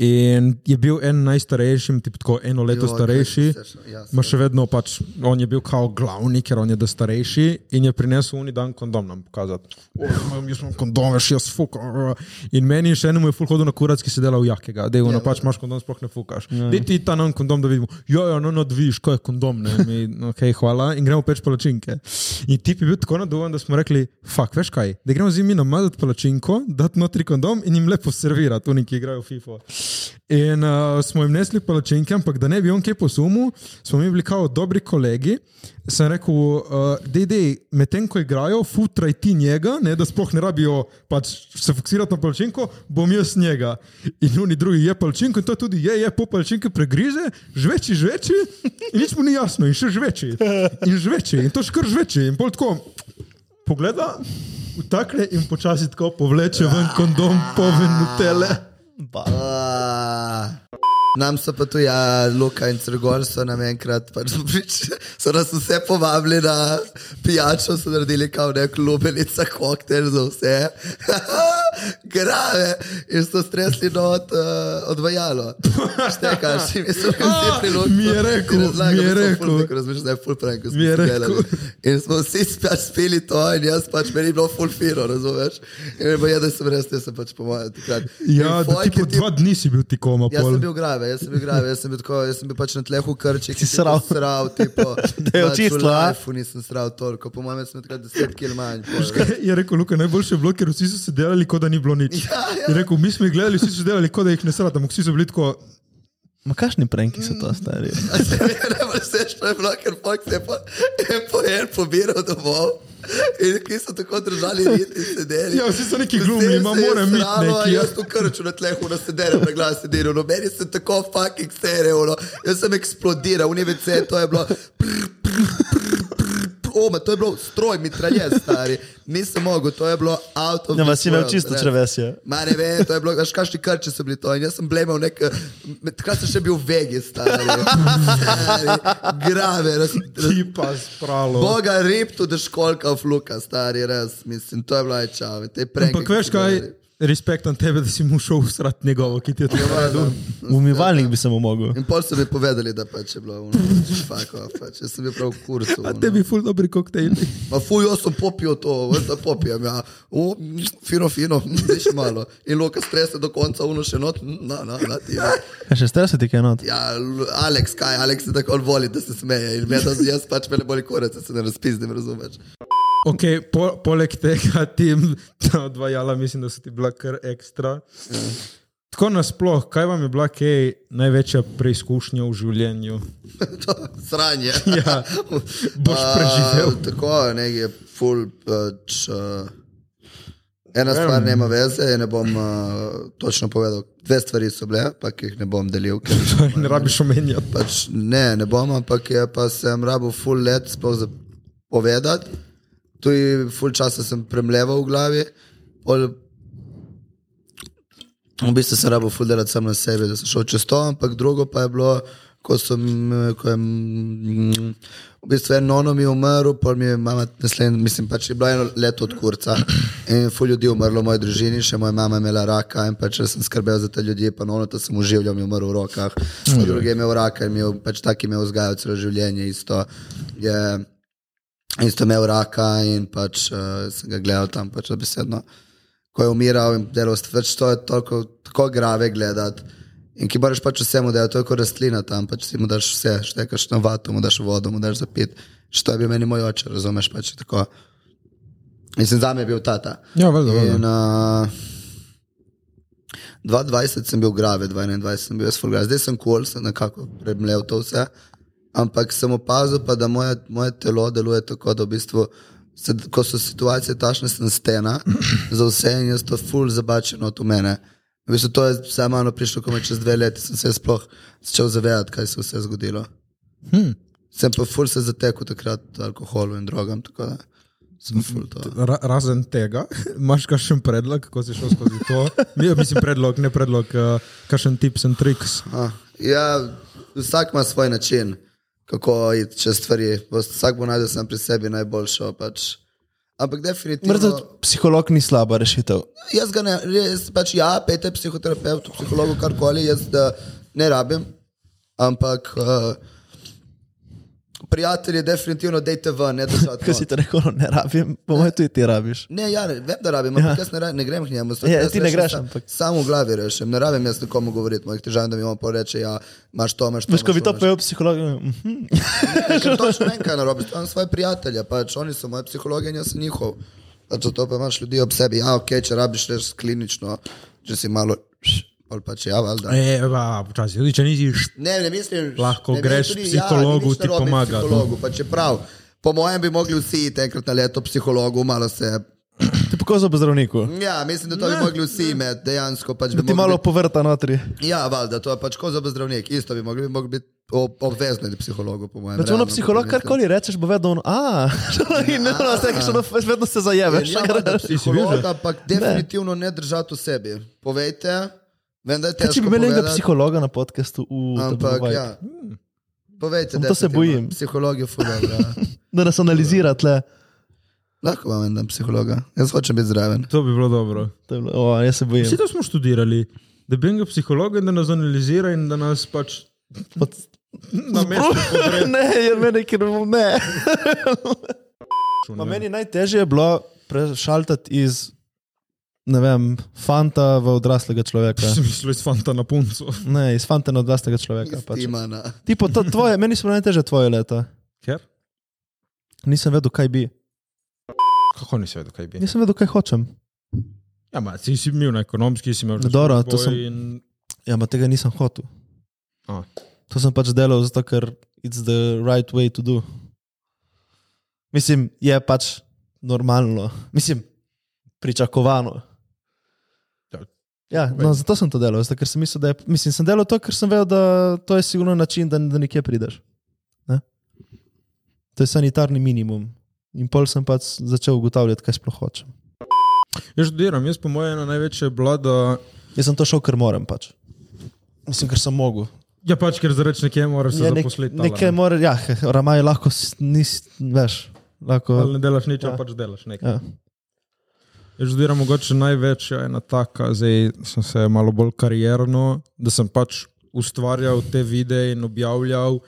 Speaker 4: In je bil en najstarejšim, tip, tako eno leto
Speaker 1: Jo,
Speaker 4: starejši.
Speaker 1: kaj se še- ja,
Speaker 4: Ma še vedno pač, on je bil kao glavni, ker on je da starejši in je prinesel oni dan kondom nam pokazati. "O, imam- Jaz imam kondom, še jaz fukam. In meni in še enemu je ful hodil na kurac, ki se dela v jakega. Dej, ono pač imaš kondom, sploh ne fukaš. Dej ti ta nam kondom, da vidimo. Ja, ja, no, no, dviš, kaj je kondom, ne. Mi, ok, hvala. In gremo peč palačinke. In tip je bil tako naduvan, da smo rekli, fak, veš kaj, da gremo zimi namazati palačinko, dati notri kondom in jim lepo servirati, oni, ki igrajo FIFA. In uh, smo jim nesli palačinke, ampak da ne bi on kaj posumil, smo mi bili kao dobri kolegi. Sem rekel, uh, DD, medtem ko igrajo, futraj ti njega, ne, da sploh ne rabijo pač se fokusirati na palačinko, bom jaz njega. In oni drugi je palačinko in to tudi je, je po palačinki pregrize, žveči, žveči, in nič mu ni jasno, in še žveči, in žveči, in to še kar žveči, in pol tako pogleda. Vtakne in počasi tako povleče ven kondom, poven nutele.
Speaker 3: Ba.
Speaker 1: Ah. Nam so pa tu, ja, Luka in Crgor so nam enkrat, pač so, prič, so nas vse povabili na pijačo, so naredili kao nek lubenica, koktejl za vse. Grave in so stresli not uh, odvajalo. Štekaš, mi smo bili vsi pri Luki.
Speaker 4: Ah, Mi je rekel,
Speaker 1: in razlagali
Speaker 4: mi je
Speaker 1: smo
Speaker 4: rekel.
Speaker 1: ful neko Razmišljam, da je full prank, ko smo
Speaker 4: Mi je
Speaker 1: se
Speaker 4: rekel.
Speaker 1: delali. In smo vsi pač spili to, in jaz pač meni je bilo full firo, razumeš? In pa je, da sem res, jaz sem pač pomagal takrat.
Speaker 4: Ja,
Speaker 1: In
Speaker 4: da ti
Speaker 1: fojke
Speaker 4: po
Speaker 1: ti-
Speaker 4: dva dni si bil ti koma.
Speaker 1: Jaz
Speaker 4: pol.
Speaker 1: sem bil grave, jaz sem bil grave, jaz sem bil, tako, jaz sem bil pač na tlehu krček.
Speaker 3: Si sral.
Speaker 1: Sral, tipo.
Speaker 3: Da je očistila, a?
Speaker 1: a? Nisem sral toliko, po mojem sem takrat 10 km manj. pol.
Speaker 4: Je rekel, Luka, najboljše je bilo, ker vsi so se delali, kot da ni bilo nič.
Speaker 1: Ja, ja.
Speaker 4: Je rekel, mi smo jih gledali, vsi so delali, kot da jih ne sradamo, vsi so bili tako.
Speaker 3: Ma kakšni pranki so
Speaker 1: Mm.
Speaker 3: to, stari?
Speaker 1: Ne moreš se šlo, je bilo, ker fakt se je pa en po en pobiral domov. In ki so tako držali rit in sedeli.
Speaker 4: Ja, vsi so neki
Speaker 1: Vsi
Speaker 4: glumni, ima
Speaker 1: se je
Speaker 4: moram biti
Speaker 1: sralo, a
Speaker 4: neki. ja.
Speaker 1: Jaz tu krču na tlehu, na sederem, na glas sederem, no meni se tako fucking stereo, no. jaz sem eksplodiral, v NVC, to je bilo. Prr, prr, prr, prr, prr. Oma, to je bilo stroj, mitralje, stari. Nisem mogel, to je bilo avto.
Speaker 3: Ja, ma si imel čisto ja. črvesje.
Speaker 1: Ma ne vem, to je bilo, veš, kakšni krči so bili to. In jaz sem blemal nek, eh, med- takrat sem še bil vegi, stari. stari grave, raz, raz,
Speaker 4: Ti pa spralo.
Speaker 1: Boga rep tu deškolka v luka, stari, res, mislim, to je bilo ajčave.
Speaker 4: Ampak veš kaj, respekt na tebe, da si mu šel usrat njegovo, ki ti je to
Speaker 1: Ja,
Speaker 4: naredil.
Speaker 3: Umivalnik bi se mu mogel.
Speaker 1: In pol so mi povedali, da pač je bilo, fako, pač, jaz sem bil prav v kursu.
Speaker 4: A
Speaker 1: ono.
Speaker 4: tebi ful dobri koktejli.
Speaker 1: Ma fuj, jaz sem popil to, veš, da popijem, ja. O, mm, fino, fino, mm, še malo. In Luka strese do konca, uno še not, mm, na, na, na, ti. Ja.
Speaker 3: Ja, še ste se ti kaj not?
Speaker 1: Ja, L- Aleks, kaj, Aleks je tako on voli, da se smeje in me, da, jaz pač me ne boli korec, da se ne razpizdim, razumeš?
Speaker 4: Ok, po, poleg tega ti ta odvajala, mislim, da so ti bila kar ekstra. Tako nasploh, kaj vam je bila kaj največja preizkušnja v življenju?
Speaker 1: To sranje.
Speaker 4: Ja, boš
Speaker 1: A,
Speaker 4: preživel.
Speaker 1: Tako, nek je full pač. Uh, ena stvar nema veze, je ne bom uh, točno povedal. Dve stvari so bile, pa ki jih ne bom delil. Ker,
Speaker 4: Ne rabiš omenjati.
Speaker 1: pač, ne, ne bom, ampak je pa sem rabo full let sploh za povedati. Tu je full časa sem premleval v glavi. Pol, v bistvu sem rabo full delati sam na sebe, da sem šel čez to, ampak drugo pa je bilo ko, sem, eh, ko je mm, v bistvu en ono mi umrl, pa mi je mama, naslednji, mislim, pač je bilo eno leto od kurca in ful ljudi je umrlo v moji družini, še moja mama je imela raka in pač jaz sem skrbel za te ljudi, pa ono to sem uživljal, mi je umrl v rokah, mm. drugi je imel raka in mi je pač taki me vzgajal celo življenje isto. Je, Isto imel raka in pač uh, sem ga gledal tam, pač besedno, ko je umiral in delal stvari, pač to je toliko, tako grave gledati. In ki moraš pač vsemu delati, to je kot rastlina tam, pač si mu daš vse, štekaš na vato, mu daš vodo, mu daš zapit. Še to je bil meni moj oče, razumeš pač je tako. Mislim, za me je bil tata.
Speaker 4: Ja, valjda, valjda.
Speaker 1: In, uh, 2020 sem bil grave, 2021 sem bil jaz fulgar, zdaj sem kol, cool, sem nekako premlel to vse. Ampak sem opazil, pa, da moje, moje telo deluje tako, da v bistvu, se, ko so situacije tašne, sem stena za vse in jaz to ful zabačeno od mene. V bistvu to je samo eno prišlo, ko me čez dve leti sem se sploh začel zavedati, kaj se je vse zgodilo. Hmm. Sem pa ful se zatekel takrat alkoholu in drogam, tako da sem ful to.
Speaker 4: Ra razen tega, imaš kakšen predlog, kako si šel skozi to? Mi, mislim, predlog, ne predlog, uh, kakšen tips and tricks.
Speaker 1: Ah, Ja, vsak ima svoj način, kako iti čez stvari. Vsak bo najdel sam pri sebi najboljšo. Pač. Ampak definitivno.
Speaker 3: Mrtev psiholog ni slaba rešitev.
Speaker 1: Jaz ga ne, res, pač ja, pete psihoterapevtu, psihologu, karkoli, jaz da ne rabim. Ampak uh, prijatelji, definitivno dejte ven, ne držati.
Speaker 3: Kaj si to rekel, no, ne rabim, po mojem tudi ti rabiš.
Speaker 1: Ne, ja, vem, da rabim, ampak ja. jaz ne, ra- ne grem k njemu.
Speaker 3: Ja,
Speaker 1: jaz
Speaker 3: ti ne
Speaker 1: rešim
Speaker 3: greš,
Speaker 1: sam-
Speaker 3: ampak-
Speaker 1: Sam v glavi rešim, ne rabim jaz nekomu govoriti mojih težav, da mi on pa reče, ja, imaš to, imaš to.
Speaker 3: Veš, ko
Speaker 1: imaš
Speaker 3: bi to
Speaker 1: imaš
Speaker 3: pel psiholog, mhm.
Speaker 1: Ker točno vem, kaj narobe, imam svoje prijatelje, pač oni so moji psihologi in jaz sem njihov. Pač zato pa imaš ljudi ob sebi, ja, ok, če rabiš res klinično, če si malo, ali pač ja, valjda.
Speaker 4: E, ba, počasi, tudi če nisi št.
Speaker 1: Ne, ne mislim,
Speaker 4: Lahko
Speaker 1: ne mislim
Speaker 4: greš
Speaker 1: tudi,
Speaker 4: psihologu,
Speaker 1: ja, ni nič
Speaker 4: ti
Speaker 1: narobe
Speaker 4: pomaga, no.
Speaker 1: Psihologu, pa čeprav, po mojem bi mogli vsi iti enkrat na leto psihologu, malo se.
Speaker 3: ti pokazal po zdravniku.
Speaker 1: Ja, mislim, da to bi mogli vsi imeti, dejansko pač bi
Speaker 3: Da ti
Speaker 1: mogli
Speaker 3: malo
Speaker 1: biti-
Speaker 3: povrta notri.
Speaker 1: Ja, valjda, to je pač kot zobozdravnik, isto bi mogli, bi mogli biti ob- obvezni iti psihologu, po mojem.
Speaker 3: Če Pač ono
Speaker 1: realno,
Speaker 3: psiholog
Speaker 1: mislim.
Speaker 3: karkoli rečeš, bo vedel, on, a, in ne, no, vse, še ono, vedno se zajeveš.
Speaker 1: Ja, valjda psiholog,
Speaker 4: že?
Speaker 1: ampak definitivno ne držati v sebi. Povejte, vem, da je
Speaker 3: Kaj,
Speaker 1: težko.
Speaker 3: če bi imeli enega
Speaker 1: ja, povedati,
Speaker 3: psihologa na podkastu, u, to bi bil
Speaker 1: Ampak
Speaker 3: vibe.
Speaker 1: ja. Povejte,
Speaker 3: Samo to se
Speaker 1: definitivno.
Speaker 3: bojim.
Speaker 1: Psiholog je fulano. Ja.
Speaker 3: da nas analizira tle.
Speaker 1: Lahko vam en dan psihologa. Jaz hočem biti zraven.
Speaker 4: To bi bilo dobro.
Speaker 3: To je bilo- O, jaz se bojim.
Speaker 4: Vsi to smo študirali, da bi enega psihologa, da nas analizira in da nas pač
Speaker 3: Pod...
Speaker 4: na mestu podre.
Speaker 3: ne, jer meni, ker bom ne. Ma meni najtežje je bilo prešaltati iz, ne vem, fanta v odraslega človeka.
Speaker 4: Ja. Sem mislil, iz fanta na puncu.
Speaker 3: Ne, iz fanta na odraslega človeka. Pač.
Speaker 1: Imana.
Speaker 3: Tipo, to, tvoje, meni so bile najtežje tvoje leta.
Speaker 4: Ker?
Speaker 3: Nisem vedel, kaj bi.
Speaker 4: Kako nisi vedel, kaj bi?
Speaker 3: Nisem vedel, kaj hočem.
Speaker 4: Ja, ma, si, si bil na ekonomski, si imel
Speaker 3: Dobro, to
Speaker 4: razboj
Speaker 3: sem-
Speaker 4: In...
Speaker 3: Ja, ma tega nisem hotel.
Speaker 4: A.
Speaker 3: To sem pač delal zato, ker it's the right way to do. Mislim, je pač normalno, mislim, pričakovano.
Speaker 4: Ja.
Speaker 3: Ja, no, zato sem to delal, zato, ker sem mislil, da je, mislim, sem delal to, ker sem vedel, da to je sigurno način, da, da nekje prideš. Ne? To je sanitarni minimum. In pol sem pač začel ugotavljati, kaj sploh hočem.
Speaker 4: Jaz študiram, jaz po mojem ena največja je bila, da
Speaker 3: Jaz sem to šel, ker moram pač. Mislim, ker sem mogel.
Speaker 4: Ja, pač, ker zareč nekje moraš se
Speaker 3: Ja,
Speaker 4: ja,
Speaker 3: nek,
Speaker 4: zaposliti. ali
Speaker 3: nekaj
Speaker 4: ne.
Speaker 3: mora, ja, ramaj lahko s- nis, veš.
Speaker 4: Ali
Speaker 3: Lahko,
Speaker 4: ne delaš nič, ja.
Speaker 3: Ja.
Speaker 4: pač delaš nekaj.
Speaker 3: ja.
Speaker 4: Jaz študiram mogoče največja ena taka, zdaj sem se malo bolj karierno, da sem pač ustvarjal te videe in objavljal.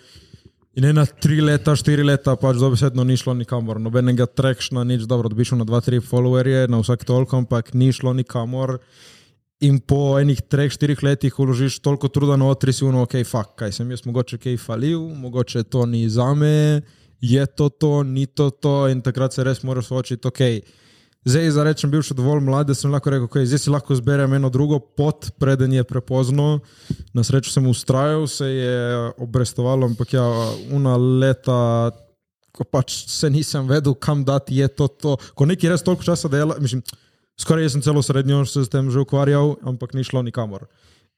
Speaker 4: In ena tri leta, štiri leta pač dobesedno ni šlo nikamor, nobenega trekšna, nič dobro, dobiš na dva, tri followerje, na vsak toliko, ampak ni šlo nikamor. In po enih treh, štirih letih uložiš toliko truda na otri, si uno, ok, fuck, kaj sem jaz, mogoče kaj falil, mogoče to ni za me, je to to, ni to to, in takrat se res moraš soočiti, ok. Zdaj, za rečem, bil še dovolj mlad, da sem lahko rekel, ok, zdaj si lahko zberem eno drugo pot, preden je prepozno. Na srečo sem ustrajal, se je obrestovalo, ampak ja, una leta ko pač se nisem vedel, kam dati je to. to. Ko nekaj res toliko časa dela, mislim, skoraj jaz sem celo srednjo se s tem že ukvarjal, ampak ni šlo nikamor.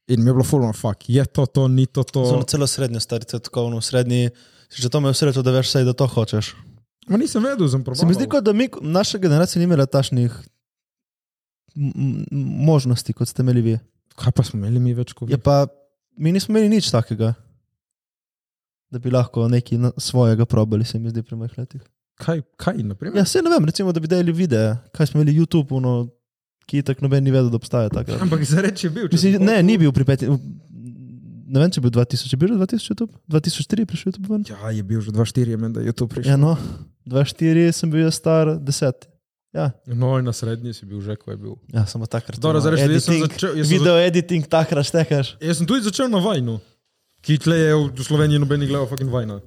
Speaker 4: In mi je bilo fulno, fuck, je to to, ni to to.
Speaker 3: Zelo celo srednjo starico, tako ono, v srednji. Si že to me usredo, da veš, saj, da to hočeš.
Speaker 4: Ma nisem vedel, sem
Speaker 3: Se mi
Speaker 4: probal.
Speaker 3: zdi, kot da mi, naša generacija ni imela tašnih m- m- možnosti, kot ste imeli vi. Ja,
Speaker 4: Kaj pa smo imeli mi več kot
Speaker 3: Je pa, mi nismo imeli nič takega. da bi lahko nekaj na- svojega probali, se mi zdi pri mojih letih.
Speaker 4: Kaj, kaj naprimer?
Speaker 3: Ja, se ne vem, recimo, da bi delali videe, kaj smo imeli YouTube, ono, ki tako noben ni vedel, da obstaja takrat.
Speaker 4: Ampak za reči je bil. če
Speaker 3: Mislim,
Speaker 4: sem-
Speaker 3: ne, ni bil pri petih. Ne vem, če je bil 2000, je bil že 2000 YouTube, 2004 je prišel YouTube ven.
Speaker 4: Ja, je bil že 2-4, je meni, da je to prišel.
Speaker 3: Ja, no, 2004 sem bil jaz star 10. Ja,
Speaker 4: No, in na srednji si bil že, ko je bil.
Speaker 3: ja samo takrat.
Speaker 4: Dobro,
Speaker 3: no,
Speaker 4: zdaj rečeš, da jaz sem
Speaker 3: editing,
Speaker 4: začel- jaz sem
Speaker 3: Video editing, takrat štekaš.
Speaker 4: Jaz sem tudi začel na vajnu, ki tle je v Sloveniji noben ni gledal fucking vajna.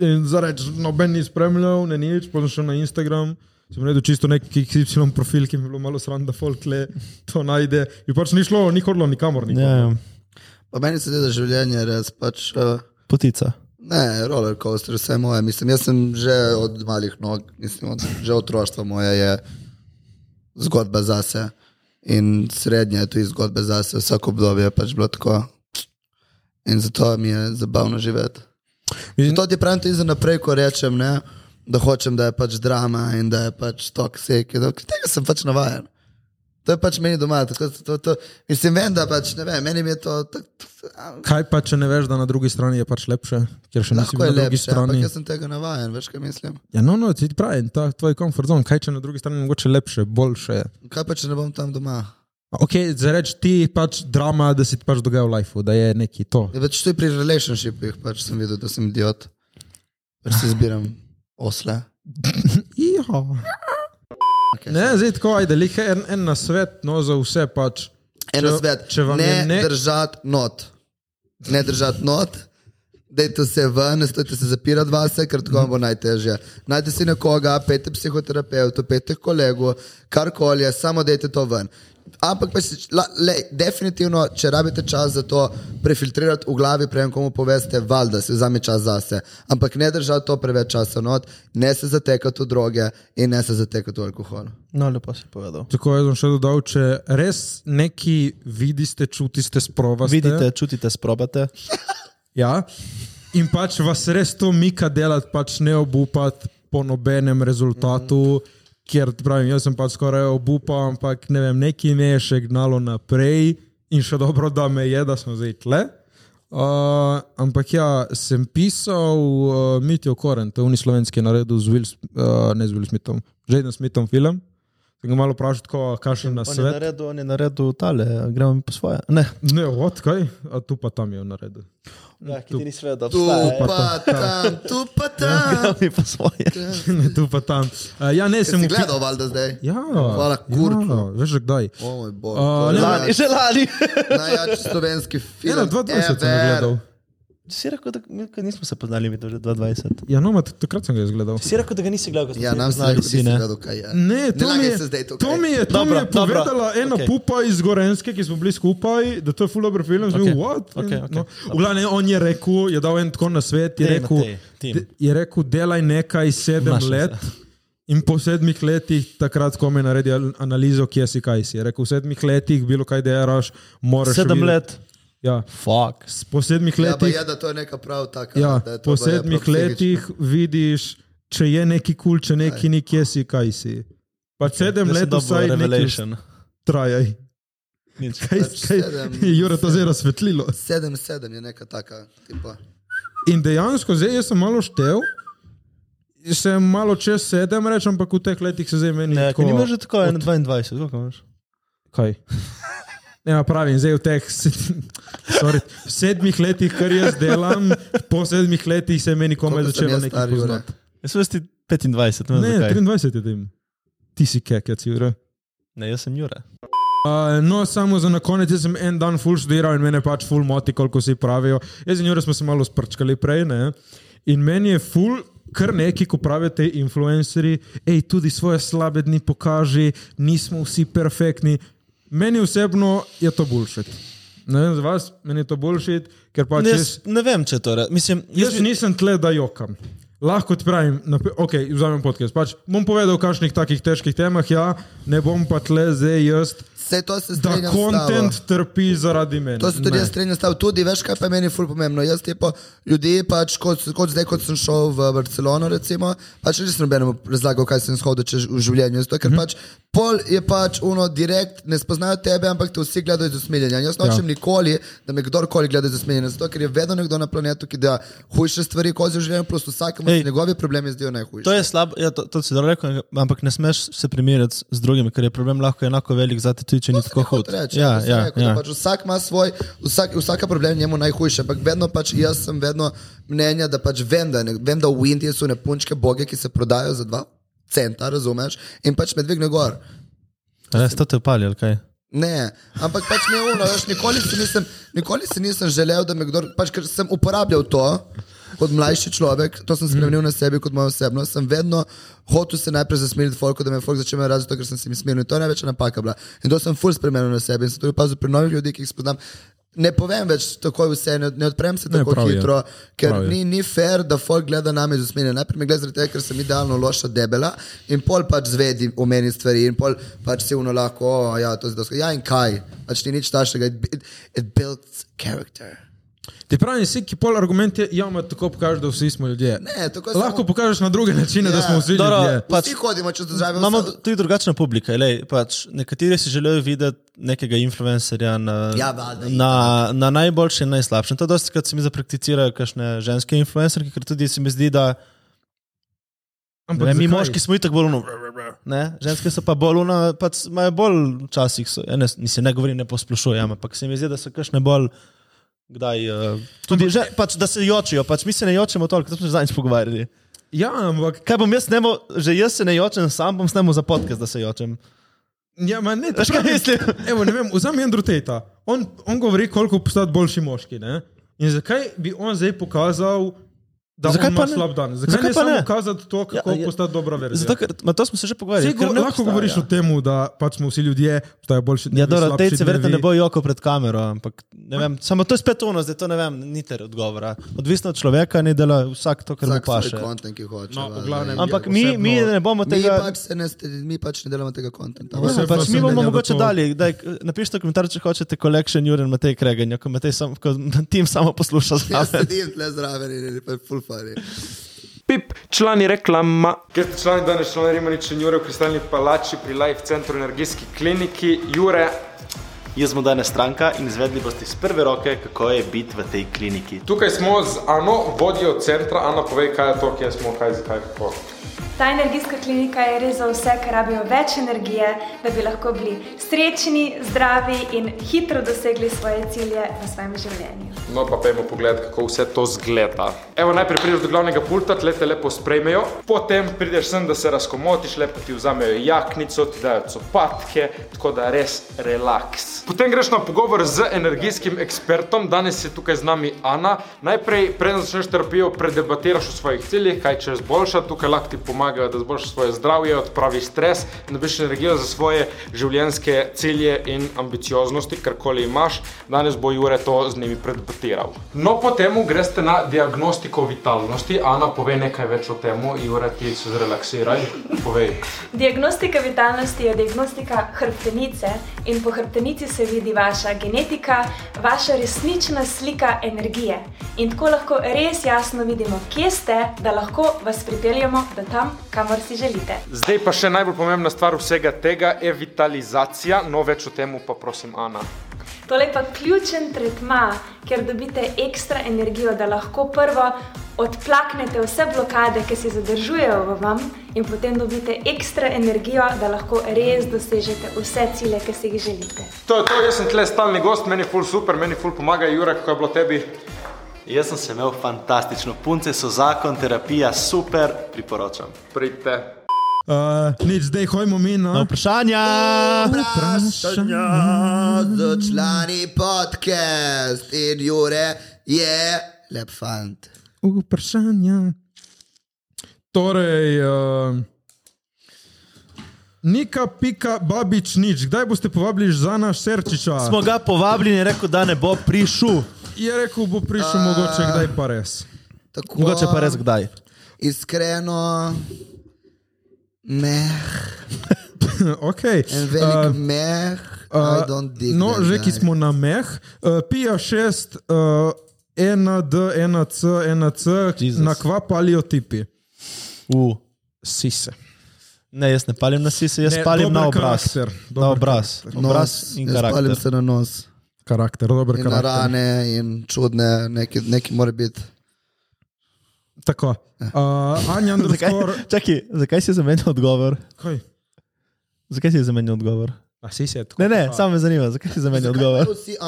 Speaker 4: In za reč, noben ni spremljal, ne nič, potem šel na Instagram. Sem naredil čisto nek XY profil, ki mi je bilo malo sram, da folk le to najde. In pač ni šlo, ni hodilo nikamor. nikamor.
Speaker 3: Ja, ja.
Speaker 1: Pa meni se zdi, da življenje res pač. Uh,
Speaker 3: Potica.
Speaker 1: Ne, roller coaster, vse moje. Mislim, jaz sem že od malih nog, mislim, od, že otroštvo moje je zgodba zase. In srednje je tudi zgodba zase, vsako obdobje je pač bilo tako. In zato mi je zabavno živeti. In to ti pravim tudi za naprej, ko rečem, ne, da hočem, da je pač drama in da je pač toksik. in tako. Tega sem pač navaden. To je pač meni doma. Tako, to, to, mislim, vem, da pač ne vem, meni mi je to. Tak,
Speaker 4: Kaj pa, če ne veš, da na drugi strani je pač lepše, ker še nisi
Speaker 1: Lahko
Speaker 4: bil
Speaker 1: je
Speaker 4: na drugi
Speaker 1: lepše, ampak
Speaker 4: strani.
Speaker 1: jaz sem tega navaden, veš kaj mislim.
Speaker 4: Ja, no, no, ti pravi, ta tvoj komfort zone, kaj če na drugi strani je mogoče lepše, boljše je.
Speaker 1: Kaj pa, če ne bom tam doma?
Speaker 4: Ok, za reč ti pač drama, da si ti pač dogaja v lifeu, da je neki to.
Speaker 1: Ja, pač tudi pri relationshipih pač sem videl, da sem idiot. Pač si izbiram osle.
Speaker 4: Iha.
Speaker 1: Okay,
Speaker 4: Ne, zdaj tako, ajde, lih en, en na svet, no za vse pač.
Speaker 1: Eno
Speaker 4: če-
Speaker 1: svet,
Speaker 4: če vam
Speaker 1: ne,
Speaker 4: je
Speaker 1: ne
Speaker 4: ne-
Speaker 1: držati not. Ne držati not. Dajte se ven, ne stojite se zapirati vase, ker tako vam bo najtežje. Najdete si nekoga, pete psihoterapeuta, pete kolegu, karkoli, je, samo dajte to ven. Ampak pa si, la, le, definitivno, če rabite čas za to, prefiltrirati v glavi, preden komu poveste, valjda si vzame čas zase. Ampak ne držati to preveč časa not, ne se zatekati v droge in ne se zatekati v alkohol.
Speaker 3: No, lepo si povedal.
Speaker 4: Tako jaz bom še dodal, če res neki vidite, čutite, sprovate.
Speaker 3: Vidite, čutite, sprobate.
Speaker 4: Ja. In pač vas res to mika delati, pač ne obupati po nobenem rezultatu, ker pravim, jaz sem pač skoraj obupal, ampak ne vem, neki me je še gnalo naprej in še dobro, da me je, da sem zdaj tle. Uh, ampak ja, sem pisal uh, Mitijo Koren, to je unislovenski naredil z Will, Sm- uh, ne z Will Smithom, Jaden Smithom film. Sem ga malo vprašal, tako, kakšen na
Speaker 3: On je
Speaker 4: svet.
Speaker 3: naredil, on je naredil tale, gremo mi po svoje. Ne,
Speaker 4: Ne, odkaj, a tu pa tam je naredil.
Speaker 3: ja, ki ti nisi vedel, da
Speaker 1: Tu
Speaker 3: obstaja.
Speaker 1: pa tam, tu pa tam.
Speaker 3: Gremo mi po svoje.
Speaker 4: ne, tu pa tam. Uh, ja, ne, sem
Speaker 1: Si
Speaker 4: upi-
Speaker 1: gledal, valjda zdaj.
Speaker 4: Ja,
Speaker 1: Hvala, kurčo.
Speaker 4: Ja, veš, že kdaj.
Speaker 1: O moj bog. to
Speaker 4: A,
Speaker 1: je
Speaker 4: ne,
Speaker 1: najjač-
Speaker 3: Že lani.
Speaker 1: Najjačji slovenski film.
Speaker 4: Ja,
Speaker 3: e,
Speaker 4: 2020 sem ga
Speaker 1: ever.
Speaker 4: gledal.
Speaker 3: Si rekel, da mi ko nismo se poznali, mi to že 2020.
Speaker 4: Ja, no, ma, t- takrat sem ga jaz gledal.
Speaker 3: Si rekel, da ga nisi gledal, ko smo
Speaker 1: Ja,
Speaker 3: se
Speaker 1: nam se
Speaker 3: poznali,
Speaker 1: reče, da
Speaker 3: si
Speaker 1: si
Speaker 3: ne.
Speaker 1: gledal, kaj je.
Speaker 4: Ne, to
Speaker 1: ne
Speaker 4: mi
Speaker 1: lagaj
Speaker 4: je,
Speaker 1: se zdaj tukaj.
Speaker 4: to mi je, to
Speaker 3: Dobro,
Speaker 4: mi je
Speaker 3: dobro,
Speaker 4: povedala ena
Speaker 3: okej.
Speaker 4: pupa iz Gorenske, ki smo bili skupaj, da to je full dobro film.
Speaker 3: Okej,
Speaker 4: Okay. What?
Speaker 3: okej, okej,
Speaker 4: no, v glavnem, on je rekel, je dal en tako na svet, je
Speaker 3: Tej,
Speaker 4: rekel,
Speaker 3: Matej, tim.
Speaker 4: de- je rekel, delaj nekaj sedem
Speaker 3: Našel se.
Speaker 4: let. In po sedmih letih, takrat, ko mi naredi al- analizo, kje si, kaj si. Je rekel, v sedmih letih, bilo kaj delaš, moraš.
Speaker 3: Sedem
Speaker 4: videti.
Speaker 3: let.
Speaker 4: Ja.
Speaker 3: Fuck.
Speaker 4: S- Po sedmih
Speaker 1: Ja, pa
Speaker 4: letih
Speaker 1: je, da to je neka prav taka.
Speaker 4: Ja,
Speaker 1: da je to
Speaker 4: po
Speaker 1: baje prav
Speaker 4: sedmih
Speaker 1: psihično.
Speaker 4: letih vidiš, če je neki kul, cool, če neki ni, kje si, kaj si. Pa sedem
Speaker 3: Zdaj sem
Speaker 4: let
Speaker 3: dobil
Speaker 4: vsaj nekaj
Speaker 3: revelation.
Speaker 4: trajaj.
Speaker 3: Nič.
Speaker 4: Kaj,
Speaker 1: Pač
Speaker 4: kaj,
Speaker 1: sedem-
Speaker 4: Jure, to zdaj razsvetlilo.
Speaker 1: Sedem, sedem je neka taka. Tipa.
Speaker 4: In dejansko, zdaj jaz sem malo štev, sem malo čez sedem, rečem, ampak v teh letih se zdaj meni.
Speaker 3: Ne, ko
Speaker 4: tako-
Speaker 3: nimaš že tako, 22, koliko imaš?
Speaker 4: Kaj? Ja, pravim, zdaj v teh sed- sorry, sedmih letih, kar jaz delam, po sedmih letih se je meni komaj
Speaker 1: Koliko sem
Speaker 4: začelo
Speaker 1: jaz
Speaker 4: nekaj
Speaker 1: star, Jure?
Speaker 4: poznati.
Speaker 3: Jaz sem ti 25, ne vem
Speaker 4: Ne,
Speaker 3: zakaj.
Speaker 4: 23 je tim. Ti si kekec, Jure.
Speaker 3: Ne, jaz sem Jure.
Speaker 4: Uh, no, samo za na konec, jaz sem en dan full študiral in mene pač full moti, koliko si pravijo. Jaz in Jure smo se malo sprčkali prej, ne? In meni je full kar neki, ko pravite influencerji, hej, tudi svoje slabe dni pokaži, nismo vsi perfektni. Meni osebno je to bullshit. Ne vem za vas, meni je to bullshit, ker pač
Speaker 3: Ne,
Speaker 4: jaz,
Speaker 3: jaz, ne vem, če to rečem. Mislim,
Speaker 4: jaz nisem tle, da jokam. Lahko ti pravim, napi- ok, vzamem podcast. Pač bom povedal o kakšnih takih težkih temah, ja, ne bom pa tle zdaj jaz,
Speaker 1: Vse to se
Speaker 4: da
Speaker 1: strinjam. s tabo.
Speaker 4: kontent trpi zaradi mene.
Speaker 1: To se tudi
Speaker 4: Ne.
Speaker 1: jaz strinjam, stav tudi veš, kaj pa je meni ful pomembno. Jaz te pa ljudi, pač kot, kot zdaj, kot sem šel v Barcelono, recimo, pač res nobenemu razlagal, kaj sem shodil čez v življenju. Zato,
Speaker 3: Mhm.
Speaker 1: ker pač pol je pač uno direkt, ne spoznajo tebe, ampak te vsi gledajo z usmiljenjem. Jaz nočem ja. nikoli, da me kdorkoli gleda z usmiljenjem, zato ker je vedno nekdo na planetu, ki dela hujše stvari, kot se v življenju, plus vsakemu
Speaker 3: Ej.
Speaker 1: se njegovi problemi zdijo najhujši.
Speaker 3: To je slabo, ja, to, to si dobro rekel, ampak ne smeš se primerjati z drugimi, ker je problem lahko enako velik za te, tudi če ni tako hud.
Speaker 1: Reči,
Speaker 3: Ja, ja, ja.
Speaker 1: Pač vsak ima svoj, vsak, vsaka problem je njemu najhujša, ampak vedno pač jaz sem vedno mnenja, da pač vem, da, ne, vem, da v Indiji so nepunčke boge, ki se prodajo za dva centa, razumeš, in pač me dvigne gor.
Speaker 3: Res to te upali, ali kaj?
Speaker 1: Ne, ampak pač ne uno, veš, nikoli si nisem, nikoli si nisem želel, da me kdo, pač ker sem uporabljal to kot mlajši človek, to sem spremenil na sebi kot mojo osebnost, sem vedno hotel se najprej zasmeriti folko, da me folk začne razumeti, zato, ker sem se jim smeril in to je največja napaka bila. In to sem full spremenil na sebi in sem tudi opazil pri novih ljudeh, ki jih spoznam. Ne povem več takoj vse, ne, ne odprem se tako
Speaker 4: prav
Speaker 1: ne,
Speaker 4: je.
Speaker 1: hitro, ker
Speaker 4: Prav je.
Speaker 1: ni ni, ni fair, da folk gleda name z usmerjenjem. Najprej me gleda zaradi tega, ker sem idealno loša debela in pol pač zvedi o meni stvari in pol pač si uno lahko, "O, ja, to je dosti. Ja, in kaj? Pač ni nič takšnega. It, it, it builds character.
Speaker 4: Ti pravi, si ki pol argument je, ja, ma tako pokažeš, da vsi smo ljudje.
Speaker 1: Ne, tako je
Speaker 4: Lahko
Speaker 1: samo-
Speaker 4: pokažeš na druge načine, ja. da
Speaker 1: Ja.
Speaker 4: smo vsi
Speaker 3: Dobro,
Speaker 4: ljudje.
Speaker 3: Pač-
Speaker 1: Vsi hodimo čez države.
Speaker 3: Imamo
Speaker 1: vse-
Speaker 3: tudi drugačna publika. Lej, pač, nekateri si želijo videti nekega influencerja na,
Speaker 1: Ja, valjda,
Speaker 3: na, na najboljšem in najslabšem. To dosti krat se mi zaprakticirajo kakšne ženske influencerke, ker tudi se mi zdi, da
Speaker 4: Ampak
Speaker 3: ne, mi
Speaker 4: zakaj?
Speaker 3: moški smo itak bolj uno. Ne? Ženske so pa bolj uno, pač imajo bolj včasih, so- ja, ne, mislim, ne govorim, ne posplošujem, ampak se mi zdi, da so kakšne bolj. Kdaj, uh, tudi, že, pač, da se jočijo, pač mi se ne jočemo toliko, to smo se zadnjič pogovarjali.
Speaker 4: Ja, ampak
Speaker 3: Kaj bom jaz, nemo, že jaz se ne jočem, sam bom snemo za podcast, da se jočem.
Speaker 4: ja, ma, ne,
Speaker 3: Veš, kaj
Speaker 4: pravim,
Speaker 3: mislim?
Speaker 4: Evo, ne vem, vzamem Andrew Tata. On, on govori, koliko postati boljši moški. Ne? In zakaj bi on zdaj pokazal, da
Speaker 3: Zakaj
Speaker 4: zakaj
Speaker 3: pa
Speaker 4: ima
Speaker 3: ne?
Speaker 4: slab dan? Zakaj,
Speaker 3: Zakaj
Speaker 4: zakaj ne
Speaker 3: pa
Speaker 4: samo
Speaker 3: ne?
Speaker 4: pokazati to, kako
Speaker 3: Ja,
Speaker 4: ja,
Speaker 3: ja.
Speaker 4: ja. postati dobra verzija?
Speaker 3: Zato, ker, ma, to smo se že pogovarjali.
Speaker 4: Sej,
Speaker 3: ker
Speaker 4: go,
Speaker 3: ne
Speaker 4: lahko
Speaker 3: obstaja.
Speaker 4: govoriš o tem, da pač smo vsi ljudje, obstajajo boljši
Speaker 3: Ja,
Speaker 4: dnevi,
Speaker 3: dobro,
Speaker 4: slabši
Speaker 3: te se verjetno ne
Speaker 4: dnevi.
Speaker 3: bo joko pred kamero, ampak ne vem, samo to je spet ono, zdaj to ne vem, ni ter odgovora. Odvisno od človeka, ne dela vsak to, kar mu
Speaker 1: Vsak
Speaker 3: paše.
Speaker 1: svoj content, ki hoče.
Speaker 4: No, v
Speaker 1: valjda,
Speaker 4: glavnem,
Speaker 1: in-
Speaker 3: Ampak
Speaker 4: Ja,
Speaker 3: mi,
Speaker 4: posebno-
Speaker 3: mi ne bomo
Speaker 1: Mi
Speaker 3: tega.
Speaker 1: pač, se ne, ste- mi pač ne delamo tega kontenta.
Speaker 3: Ja,
Speaker 4: Posebno
Speaker 3: pač mi
Speaker 4: sem
Speaker 3: bomo
Speaker 4: mnenja, da
Speaker 3: mogoče
Speaker 4: to-
Speaker 3: dali, daj, napišite komentar, če hočete, kolekcion Juren Matej Kregan, ko Matej sam, ko tim samo posluša
Speaker 1: Ja,
Speaker 3: zraven.
Speaker 1: sedim tle zraven in je pač full fari.
Speaker 2: Pip, člani reklama. Ker ste člani danes, člani Rimanič in Jure v Kristalni palači pri Life Centru Energijski kliniki. Jure,
Speaker 5: Jaz smo danes stranka in izvedli boste iz prve roke, kako je biti v tej kliniki.
Speaker 2: tukaj smo z Ano, vodjo centra. Ana, povej, kaj je to, kje smo, kaj, zakaj, kako.
Speaker 6: Ta energijska klinika je res za vse, ki rabijo več energije, da bi lahko bili srečni, zdravi in hitro dosegli svoje cilje v svojem življenju.
Speaker 2: No, pa pojmo pogled, kako vse to zgleda. Evo, najprej prideš do glavnega pulta, tle te lepo sprejmejo, potem prideš sem, da se razkomotiš, lepo ti vzamejo jaknico, ti dajo copatke, tako da res relaks. Potem greš na pogovor z energijskim ekspertom, danes je tukaj z nami Ana. Najprej, preden začneš terapijo, predebatiraš o svojih ciljih, kaj češ boljša, tukaj lahko ti pomagajo, da zboljšaš svoje zdravje, odpraviš stres, in dobiš energijo za svoje življenjske cilje in ambicioznosti, karkoli imaš. Danes bo Jure to z njimi predbatiral. No, potem greš na diagnostiko vitalnosti. Ana, povej nekaj več o tem, Jure, ti se zrelaksiraj. Povej.
Speaker 6: Diagnostika vitalnosti je diagnostika hrbtenice in po hrbtenici se vidi vaša genetika, vaša resnična slika energije. In tako lahko res jasno vidimo, kje ste, da lahko vas pripeljemo do tam, kamor si želite.
Speaker 2: Zdaj pa še najbolj pomembna stvar vsega tega je vitalizacija. No, več o tem pa prosim, Ana.
Speaker 6: Tole je pa ključen tretma, ker dobite ekstra energijo, da lahko prvo odplaknete vse blokade, ki se zadržujejo v vam, in potem dobite ekstra energijo, da lahko res dosežete vse cilje, ki si jih želite.
Speaker 2: To je to, jaz sem tle stalni gost, meni je ful super, meni ful pomaga, Jure, kako je bilo tebi.
Speaker 5: Jaz sem se imel fantastično, punce so zakon, terapija, super, priporočam.
Speaker 2: Pridite.
Speaker 4: Uh, nič, zdaj hojmo mi na.
Speaker 3: Na vprašanja!
Speaker 1: Vprašanja z člani podcast in Jure je lep fant.
Speaker 4: Vprašanja. Torej, uh, Nika, pika, babič, nič. Kdaj boste povabili Žana Šerčiča?
Speaker 3: Smo ga povabili in je rekel, da ne bo prišel.
Speaker 4: Je rekel, bo prišel mogoče kdaj pa res.
Speaker 1: Tako,
Speaker 3: Mogoče pa res kdaj.
Speaker 1: Iskreno, meh,
Speaker 4: ok.
Speaker 1: en velik
Speaker 4: Uh,
Speaker 1: uh, meh.
Speaker 4: Uh,
Speaker 1: I don't dig
Speaker 4: no,
Speaker 1: that
Speaker 4: že
Speaker 1: guy.
Speaker 4: ki smo na meh, uh, pija šest, uh, ena D, ena C, ena C,
Speaker 3: Jesus.
Speaker 4: na kva palijo tipi.
Speaker 3: Uh,
Speaker 4: Sise.
Speaker 3: ne, jaz ne palim na sise,
Speaker 4: Ne,
Speaker 3: jaz ne, palim
Speaker 4: dober
Speaker 3: na obraz.
Speaker 4: karakter, dober
Speaker 3: na obraz, obraz
Speaker 1: nos,
Speaker 3: in
Speaker 1: jaz
Speaker 3: karakter.
Speaker 1: Spalim se na nos.
Speaker 4: Karakter, dober
Speaker 1: In na
Speaker 4: karakter.
Speaker 1: rane, in čudne, neki, neki mora biti.
Speaker 4: Tako.
Speaker 1: Ja.
Speaker 4: Uh, Anja,
Speaker 3: Zakaj,
Speaker 4: underscore.
Speaker 3: čaki, zakaj si zamenjal odgovor?
Speaker 4: Kaj?
Speaker 3: Zakaj si zamenjal odgovor?
Speaker 4: A sise je tako.
Speaker 3: Ne, ne, samo me zanima, zakaj si zamenjal odgovor.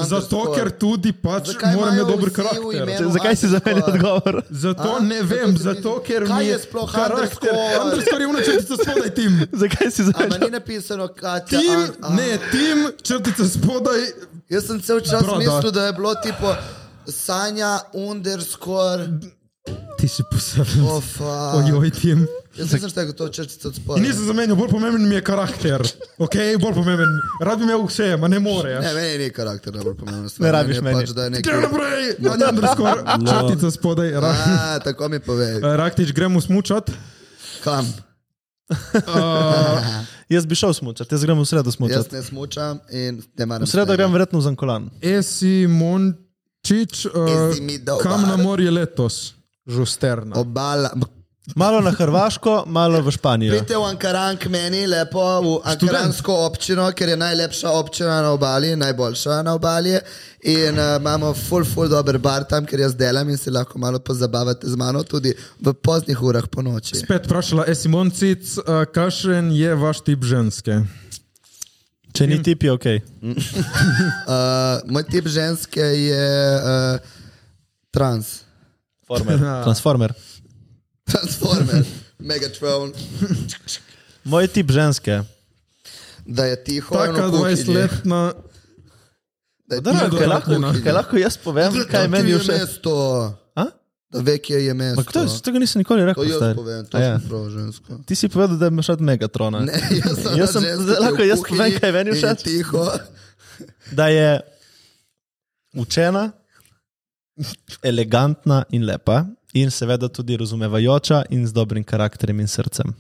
Speaker 4: Zato, ker tudi pač
Speaker 1: Zakaj imajo
Speaker 4: moram imeti dober
Speaker 1: vsi v
Speaker 4: karakter.
Speaker 1: imenu-
Speaker 3: Z- Zakaj si zamenjal odgovor?
Speaker 4: Zato
Speaker 1: A?
Speaker 4: ne
Speaker 1: Zato
Speaker 4: vem,
Speaker 1: se mi-
Speaker 4: zato ker
Speaker 1: Kaj
Speaker 4: mi
Speaker 1: je sploh
Speaker 4: karakter.
Speaker 1: underscore?
Speaker 4: Underscore je unačrtica spodaj tim.
Speaker 3: Zakaj si
Speaker 1: Ampak ni
Speaker 3: zamenjal?
Speaker 1: napisano, kaj ti
Speaker 4: Tim, ne, tim, črtica spodaj.
Speaker 1: Jaz sem cel čas
Speaker 4: Broda.
Speaker 1: mislil, da je bilo tipo sanja, underscore,
Speaker 4: Ti si poseben.
Speaker 1: ofa.
Speaker 4: Ojoj, tim.
Speaker 1: Jaz sem še tako to črtico
Speaker 4: In
Speaker 1: odspal.
Speaker 4: nisem zamenjal, bolj pomemben mi je karakter. Ok, bolj pomemben. Rad bi imel vse, ma ne more.
Speaker 1: Ne, meni ni karakter najbolj pomemben. stvar,
Speaker 3: Ne rabiš
Speaker 1: je
Speaker 3: meni.
Speaker 1: Pač, da je
Speaker 4: Gre
Speaker 1: nekaj...
Speaker 4: naprej,
Speaker 1: No,
Speaker 4: Anja, underscore, črtica spodaj. Ra-
Speaker 1: A, tako mi pove,
Speaker 4: Raktič, gremo smučat.
Speaker 1: kam.
Speaker 3: Jaz bi šel smučati, jaz grem v sredo
Speaker 1: Jaz
Speaker 3: smučati.
Speaker 1: ne smučam in ne maram.
Speaker 3: V sredo
Speaker 1: snega.
Speaker 3: grem verjetno v Zankolan.
Speaker 4: Esi Mončič, uh,
Speaker 1: Esi mi dobar.
Speaker 4: kam na morje letos? Žusterna.
Speaker 1: Obala. M,
Speaker 3: Malo na Hrvaško, malo v Španijo.
Speaker 1: Pridite v Ankaran k meni, lepo v Ankaransko občino, ker je najlepša občina na obali, najboljša na obali. In uh, imamo full, full dober bar tam, ker jaz delam in se lahko malo pozabavate z mano, tudi v poznih urah po noči.
Speaker 4: Spet vprašala, Esi Mončič, uh, kakšen je vaš tip ženske?
Speaker 3: Če ni tip, je ok.
Speaker 1: Uh, moj tip ženske je uh, trans.
Speaker 3: Transformer.
Speaker 4: Ja.
Speaker 3: Transformer.
Speaker 1: Transformer, Megatron,
Speaker 3: Moj tip ženske.
Speaker 1: da je tiho. in v
Speaker 4: Taka
Speaker 1: kuhinji.
Speaker 4: 20-letna.
Speaker 1: Da je
Speaker 3: Da,
Speaker 1: tiho
Speaker 4: kaj
Speaker 1: in v
Speaker 4: lahko-
Speaker 1: kuhinji.
Speaker 3: Kaj lahko jaz povem, kaj
Speaker 1: Tam
Speaker 3: meni
Speaker 1: je
Speaker 3: je všeč?
Speaker 1: mesto?
Speaker 3: A?
Speaker 1: Da ve, kje je mesto.
Speaker 3: Ma kdo je, tega nisem nikoli
Speaker 1: To
Speaker 3: rekel.
Speaker 1: jaz
Speaker 3: stari.
Speaker 1: povem, to
Speaker 3: A ja.
Speaker 1: je prav žensko.
Speaker 3: Ti si povedal, da imaš rad Megatrona.
Speaker 1: Ne, jaz sem,
Speaker 3: Jaz sem-
Speaker 1: ženska, ki je
Speaker 3: lahko
Speaker 1: v
Speaker 3: jaz
Speaker 1: kuhinji
Speaker 3: povem, kaj je meni
Speaker 1: in je
Speaker 3: všeč?
Speaker 1: Tiho.
Speaker 3: Da je učena, elegantna in lepa, in seveda tudi razumevajoča in z dobrim karakterjem in srcem.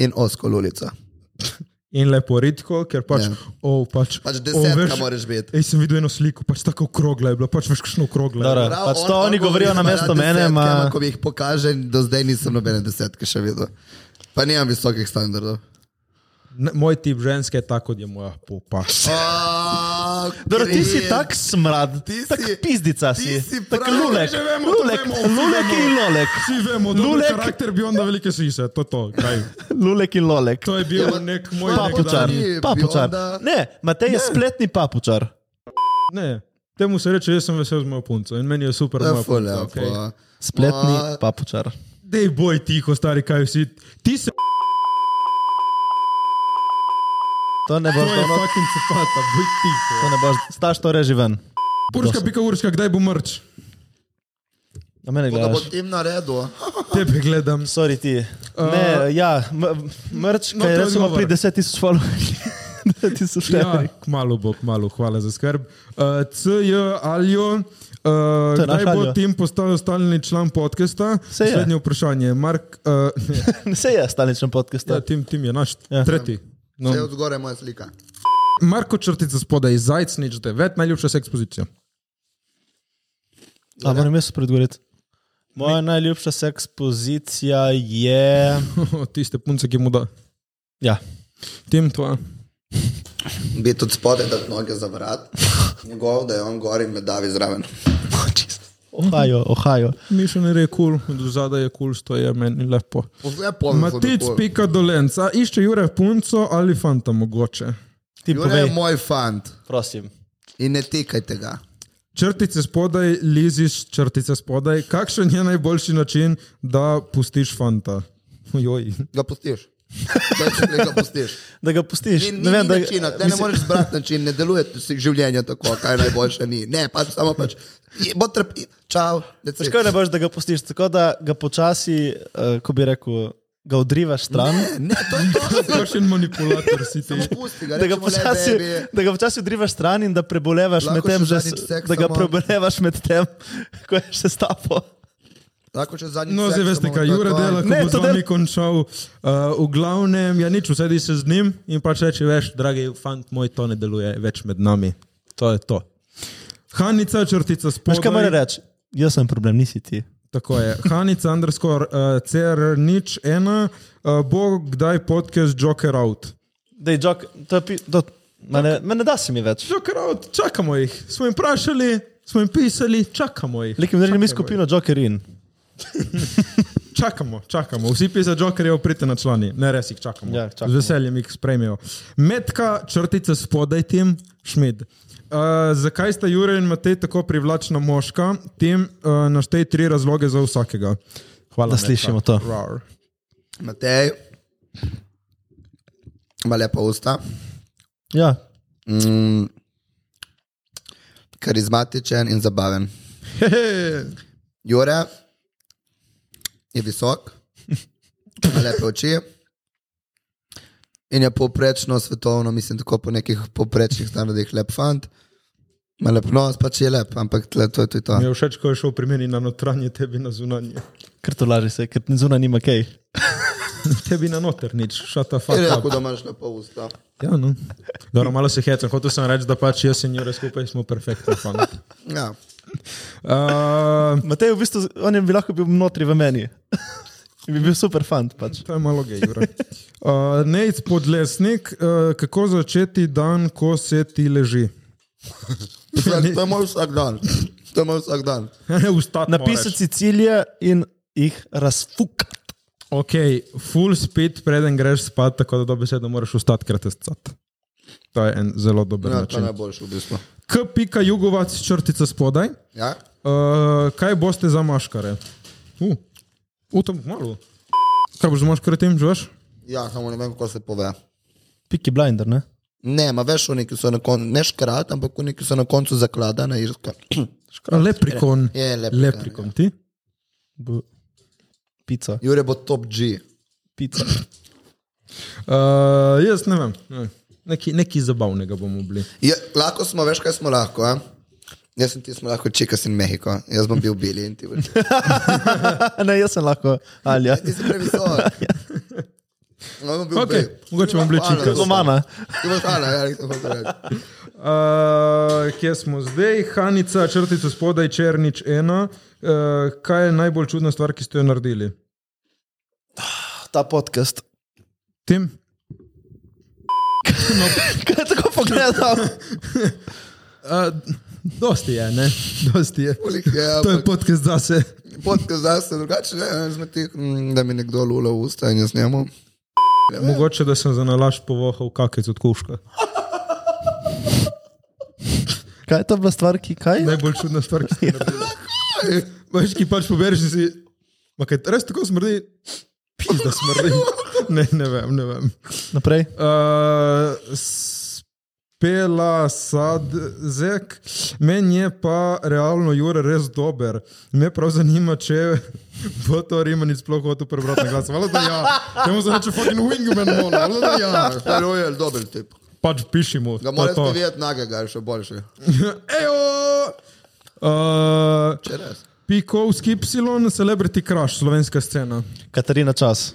Speaker 1: In oskol ulica.
Speaker 3: Ja,
Speaker 4: In lepo redko, ker pač,
Speaker 1: Ja.
Speaker 4: oh, pač,
Speaker 1: Pač
Speaker 4: o,
Speaker 1: desetka
Speaker 4: veš,
Speaker 1: oh, moraš biti.
Speaker 4: Ej, sem videl eno sliko, pač tako okrogla je bila, pač veš, kakšno okrogla. je
Speaker 3: Dobro.
Speaker 4: bila.
Speaker 3: pač to oni govorijo
Speaker 1: govori,
Speaker 3: namesto
Speaker 1: da
Speaker 3: mene,
Speaker 1: desetke,
Speaker 3: ma-
Speaker 1: ampak Ko mi jih pokaže, do zdaj nisem nobene desetke še videl. Pa nimam visokih standardov.
Speaker 4: Ne, Moj tip ženske je tako, kot je moja popa.
Speaker 1: A,
Speaker 3: Dobro, ti si
Speaker 1: Krim.
Speaker 3: tak smrad,
Speaker 1: Ti
Speaker 3: tak
Speaker 1: si-
Speaker 3: pizdica
Speaker 1: ti
Speaker 3: si,
Speaker 1: si
Speaker 3: tak
Speaker 1: prav,
Speaker 3: lulek,
Speaker 4: že vemo, to
Speaker 3: lulek,
Speaker 4: vemo, vsi
Speaker 3: lulek
Speaker 4: vemo.
Speaker 3: in lolek,
Speaker 4: Vsi vemo, da je
Speaker 3: Lulek.
Speaker 4: karakter bil onda velike sise, to, to, kaj.
Speaker 3: lulek in lolek.
Speaker 4: To je
Speaker 1: Ja,
Speaker 4: bil nek moj
Speaker 3: Papučar,
Speaker 4: nekdanji-
Speaker 1: nekdanji
Speaker 3: papučar.
Speaker 1: Bionda.
Speaker 3: Ne, Matej je spletni papučar.
Speaker 4: Ne, temu se reče, jaz sem vesel z mojo punco in meni je super.
Speaker 1: To je Ja,
Speaker 4: moja
Speaker 1: ful
Speaker 4: punca,
Speaker 1: lepo.
Speaker 4: okej.
Speaker 3: Spletni
Speaker 1: Ma-
Speaker 3: papučar.
Speaker 4: Dej boj tiho, stari, kaj vsi. Ti se
Speaker 3: To ne boš,
Speaker 4: boji,
Speaker 3: to no-
Speaker 4: fucking cepata, boj tiho.
Speaker 3: to ne boš, staš to reži ven.
Speaker 4: Urška, pika urška, kdaj bo mrč?
Speaker 3: Na
Speaker 1: Da
Speaker 3: mene
Speaker 1: bo
Speaker 3: gledaš.
Speaker 1: tim naredil.
Speaker 4: Tebe gledam.
Speaker 3: Sorry ti. Ne, ja, m- mrč,
Speaker 4: no, to
Speaker 3: kaj
Speaker 4: je
Speaker 3: recimo
Speaker 4: odgovor.
Speaker 3: pri 10 tisoč followerjih. 10 tisoč
Speaker 4: Ja,
Speaker 3: followerjih.
Speaker 4: kmalo bo, kmalo, hvala za skrb. Uh, CJ Aljo, uh,
Speaker 3: je naš
Speaker 4: kdaj bo
Speaker 3: Aljo.
Speaker 4: tim postal stalni član podcasta?
Speaker 3: Saj je.
Speaker 4: Slednje vprašanje. Mark, uh, ne,
Speaker 3: Se je staličen podcast.
Speaker 4: ja, tim, tim je naš,
Speaker 3: Ja.
Speaker 4: tretji. No.
Speaker 1: Vse od zgore moja slika.
Speaker 4: Marko črtica spodaj, zajc nič devet, najljubša seks pozicija.
Speaker 1: Ja,
Speaker 3: A moram jaz predgovoriti. Moja najljubša seks pozicija je.
Speaker 4: Tiste punce, ki mu da.
Speaker 3: Ja.
Speaker 4: Tim, tvoja.
Speaker 1: Biti od spode, da noge zavrat, njegov, da je on gor in me davi zraven.
Speaker 3: Ohajo, ohajo.
Speaker 4: Mišljen je kul, cool, zadaj je kul, cool, stoje meni lepo.
Speaker 1: Vse pomeni.
Speaker 4: Matic, pika dolenca, išče Jure punco ali fanta mogoče.
Speaker 3: Ti
Speaker 1: Jure je
Speaker 3: povej,
Speaker 1: moj fant
Speaker 3: prosim.
Speaker 1: in ne tikajte ga.
Speaker 4: Črtice spodaj, liziš črtice spodaj. Kakšen je najboljši način, da pustiš fanta? Joj.
Speaker 1: Ga pustiš. Daj, ga pustiš.
Speaker 3: Da ga pustiš.
Speaker 1: Ni, ni,
Speaker 3: ne vem, da
Speaker 1: načina, da ne moreš zbrati način, ne deluje si življenje tako, kaj najboljše ni. Ne, pač samo pač. je- Bo trpi, čau. that's it.
Speaker 3: Težko Pač ne boš, da ga pustiš, tako da ga počasi, eh, ko bi rekel, ga odrivaš stran.
Speaker 1: Ne, ne, to je to.
Speaker 4: Kakšen manipulator si ti?
Speaker 1: Pusti ga,
Speaker 3: Da ga,
Speaker 1: rečemo, le,
Speaker 3: počasi,
Speaker 1: baby.
Speaker 3: da ga počasi odrivaš stran in da prebolevaš
Speaker 1: Lahko
Speaker 3: med tem,
Speaker 1: še
Speaker 3: že,
Speaker 1: zadnjič
Speaker 3: s-
Speaker 1: seks
Speaker 3: da ga
Speaker 1: samo.
Speaker 3: prebolevaš med tem, ko je še stapo.
Speaker 1: Tako če zadnji.
Speaker 4: No, zdaj veste, kaj Jure dela, ko
Speaker 3: Ne,
Speaker 4: bo
Speaker 3: to
Speaker 4: z vami
Speaker 3: del-
Speaker 4: končal. Uh, v glavnem, ja nič, usedi se z njim in pač reče, veš, dragi fant, moj to ne deluje več med nami. To je to. Hanica, črtica
Speaker 3: Veš, kaj mora
Speaker 4: spodaj.
Speaker 3: reči? Jaz sem problem, nisi ti.
Speaker 4: Tako je. Hanica, underscore, uh, CR, nič, ena, uh, bo kdaj podcast Joker out.
Speaker 3: Dej, jok, to je pi... To... Mene, mene da si mi več.
Speaker 4: Joker out, čakamo jih. Smo jim vprašali, smo jim pisali, čakamo jih.
Speaker 3: Lekim drugim mi skupino Joker in.
Speaker 4: Čakamo, čakamo. Vsi pisa Jokerjev, pridite na člani, ne res jih čakamo.
Speaker 3: Ja, čakamo.
Speaker 4: Z veseljem jih sprejmejo. Metka, črtica spodaj, tim, šmid. Uh, zakaj sta Jure in Matej tako privlačna moška? Tim, uh, naštej tri razloge za vsakega. Hvala.
Speaker 3: Da slišimo to.
Speaker 4: Rar.
Speaker 1: Matej, ima lepa usta,
Speaker 3: Ja,
Speaker 1: mm, karizmatičen in zabaven. Jure je visok, ima lepe oči in je povprečno svetovno, mislim, tako po nekih povprečnih standardih lep fant. Ma lep nos, pač je lep, ampak tle, to je to. Je to.
Speaker 4: Mi je všeč, ko je šel pri meni na notranje, tebi na zunanje.
Speaker 3: ker to laži se, ker zunaj nima kaj.
Speaker 4: Tebi na noter, nič, šata
Speaker 1: Je
Speaker 4: fanta.
Speaker 1: rekel, Ja, da imaš lepo usta.
Speaker 4: Ja, no. Dobro, malo se hecam, hotel sem reči, da pač jaz in Jure skupaj smo perfektni fanti.
Speaker 1: Ja.
Speaker 4: Uh,
Speaker 3: Matej, v bistvu, z- on je bi lahko bil notri v meni. In bi bil super fant, pač.
Speaker 4: To je malo gej. bro. Uh, Nec podlesnik, uh, kako začeti dan, ko se ti leži?
Speaker 1: Vsak, to je moj vsak dan. To je moj vsak dan.
Speaker 4: Vstati.
Speaker 3: Napisati si cilje in jih razfukati.
Speaker 4: Ok, full speed, preden greš spat, tako da dobesedno moraš vstati, krat scat. To je en zelo dober
Speaker 1: Ja, to je
Speaker 4: način.
Speaker 1: najboljši v bistvu.
Speaker 4: K pika jugovac črtica spodaj.
Speaker 1: Ja?
Speaker 4: Uh, kaj boste za maškare? Uh, v tem malo. Kaj boš za maškare tem, žveš?
Speaker 1: ja, samo ne vem, kako se pove.
Speaker 3: Piki blinder, ne?
Speaker 1: Ne, ma veš, oni ki so na koncu, ne škrat, ampak oni ki so na koncu zakladana irska.
Speaker 4: Leprikon. ja.
Speaker 1: Je, leprikon,
Speaker 4: Leprikon, ti?
Speaker 3: Bo... Pico.
Speaker 1: Jure bo top G.
Speaker 3: Pico.
Speaker 4: Uh, jaz ne vem. Ne. Neki, neki zabavnega bomo bili.
Speaker 1: Je,
Speaker 4: Eh,
Speaker 1: Ja, lahko smo, veš, kaj smo lahko. A? Jaz in ti smo lahko Čikas in Mehiko, jaz bom bil Bili in ti boš.
Speaker 3: ne, jaz sem lahko, ali ja.
Speaker 1: Ti si previsok. No, bom bil
Speaker 4: Ok,
Speaker 1: Bili.
Speaker 4: mogoče bom bil
Speaker 1: Ana,
Speaker 4: Čikas.
Speaker 1: boš-
Speaker 3: Romana.
Speaker 1: Ti boš Ana, ja, nisem hotel reči.
Speaker 4: Uh, kje smo zdaj? Hanica, črtica spodaj, črnič ena. Uh, kaj je najbolj čudna stvar, ki ste jo naredili?
Speaker 3: Ta podcast.
Speaker 4: Tim?
Speaker 3: Kaj je tako pogledal?
Speaker 4: Uh, dosti je, ne? Dosti je.
Speaker 1: Koliko je,
Speaker 4: To je
Speaker 1: ampak-
Speaker 4: podcast zase.
Speaker 1: Podcast zdaj se drugače, ne, zmetih, da mi nekdo lula v usta in jaz njemu.
Speaker 4: Ja. Mogoče, da sem za nalaž povohal kakec od kuška.
Speaker 3: Kaj je to bila stvar, ki kaj?
Speaker 4: Najbolj čudna stvar, ki ste jo naredili. Veš, ki pač pobereš in si. Ma kaj, res tako smrdi? Pizda smrdi. Ne, ne vem, ne vem.
Speaker 3: Naprej.
Speaker 4: Uh, Pela Sadzek, meni je pa realno Jure res dober. Me prav zanima, če bo to Rimanič sploh hotel prebrati na glas. Hvala, da ja. Temu se reče fucking wingman, mola.
Speaker 1: No,
Speaker 4: Hvala, da ja.
Speaker 1: Staro je dober tip.
Speaker 4: Pač piši mu.
Speaker 1: Ga moraš videti nagega, je še boljši.
Speaker 4: Ejo! Uh,
Speaker 1: Če res.
Speaker 4: Pikovski Y, Celebrity Crush, slovenska scena.
Speaker 3: Katarina čas.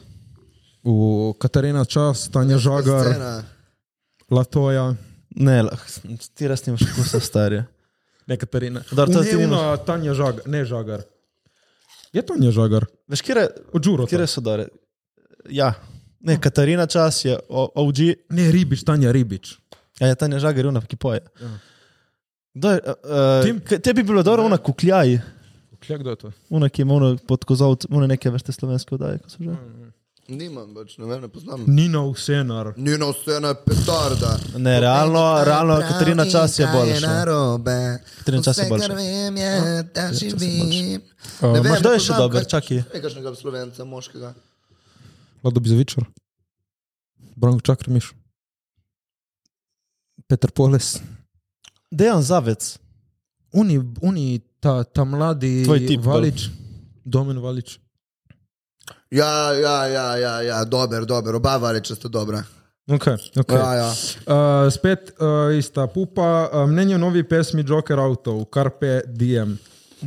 Speaker 4: V Katarina Čas, Tanja Žagar,
Speaker 1: Scena.
Speaker 4: Latoja.
Speaker 3: Ne, lah, ti res nimaš kusa starja.
Speaker 4: Ne, Katarina.
Speaker 3: Dobro, to ti
Speaker 4: Unevna Tanja Žagar, ne Žagar. Je Tanja Žagar?
Speaker 3: Veš, kje
Speaker 4: Od Žuro.
Speaker 3: Kje so dore? Ja. Ne, Katarina čas je o- OG,
Speaker 4: Ne, Ribič, Tanja Ribič.
Speaker 3: a je Tanja Žagar, ona, ki poje. Kdo je,
Speaker 4: Tim?
Speaker 3: Uh, te bi bilo dobro, ona kukljaj,
Speaker 4: Kje kdo je to?
Speaker 3: ona, ki ima ono pod kozovc, ona neke veste slovenske vdaje, ko so že.
Speaker 1: Nimam več, ne vem, ne poznam.
Speaker 4: Nina Usenar.
Speaker 1: Njeno scena je petarda.
Speaker 3: Ne, realno, realno Katarina čas je boljša. Katarina
Speaker 1: Katarina
Speaker 3: Čas je boljša. Ja,
Speaker 1: Vem je, da živim.
Speaker 4: A,
Speaker 1: Ne
Speaker 4: imaš-
Speaker 1: vem,
Speaker 3: kdo je
Speaker 1: ne
Speaker 3: še
Speaker 1: poznam
Speaker 3: dober?
Speaker 1: kak-
Speaker 3: Čakaj.
Speaker 1: Ne, kakšnega slovenca, moškega.
Speaker 4: Lado Bizovičar. Branko Čakrmiš. Peter Poles.
Speaker 3: Dejan Zavec,
Speaker 4: Uni, uni ta, ta mladi
Speaker 3: Tvoj tip,
Speaker 4: Valič. Domen Valič.
Speaker 1: Ja, ja, ja, ja, ja, dober, dober, oba variča sta dobra.
Speaker 4: Okay, okay.
Speaker 1: Ja, ja.
Speaker 4: Uh, Eh, spet uh, ista pupa, uh, mnenje o novi pesmi Joker Avtov, kar pe DM.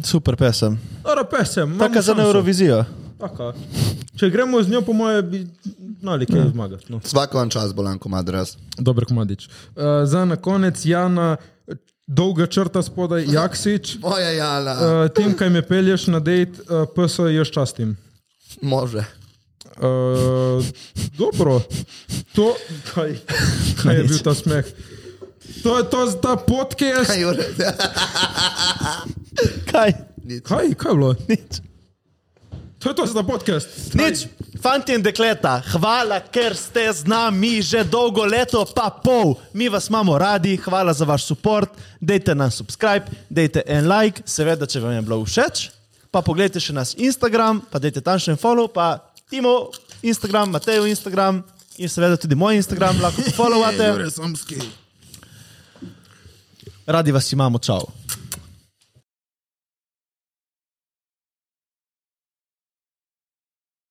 Speaker 3: Super pesem.
Speaker 4: Ara pesem,
Speaker 3: Taka za na Eurovizijo.
Speaker 4: Taka. Če gremo z njo, po moje, bi znali kaj zmagati. No.
Speaker 1: Svako vam čas bolan komad raz.
Speaker 4: Dober komadič. Uh, za na konec Jana, dolga črta spodaj, Jaksič.
Speaker 1: Moja
Speaker 3: Ja.
Speaker 1: jala,
Speaker 4: Uh, tim, kaj me pelješ na dejt, uh, PSO još častim.
Speaker 1: može.
Speaker 4: Uh, dobro, to, kaj, kaj je bil ta smeh? To je to, ta podcast.
Speaker 1: Kaj, Jure?
Speaker 3: Kaj?
Speaker 4: Kaj, kaj je bilo?
Speaker 3: Nič.
Speaker 4: To je to za ta podcast.
Speaker 3: Nič. Fantje in dekleta, hvala, ker ste z nami že dolgo leto, pa pol. Mi vas imamo radi, hvala za vaš podpor. Dajte nam subscribe, dajte en like, seveda, če vam je bilo všeč. Pa pogledajte še nas Instagram, pa dajte tam še en follow, pa Timo Instagram, Matejo Instagram in seveda tudi moj Instagram, lahko followate.
Speaker 1: Samski.
Speaker 3: Radi vas imamo, čau.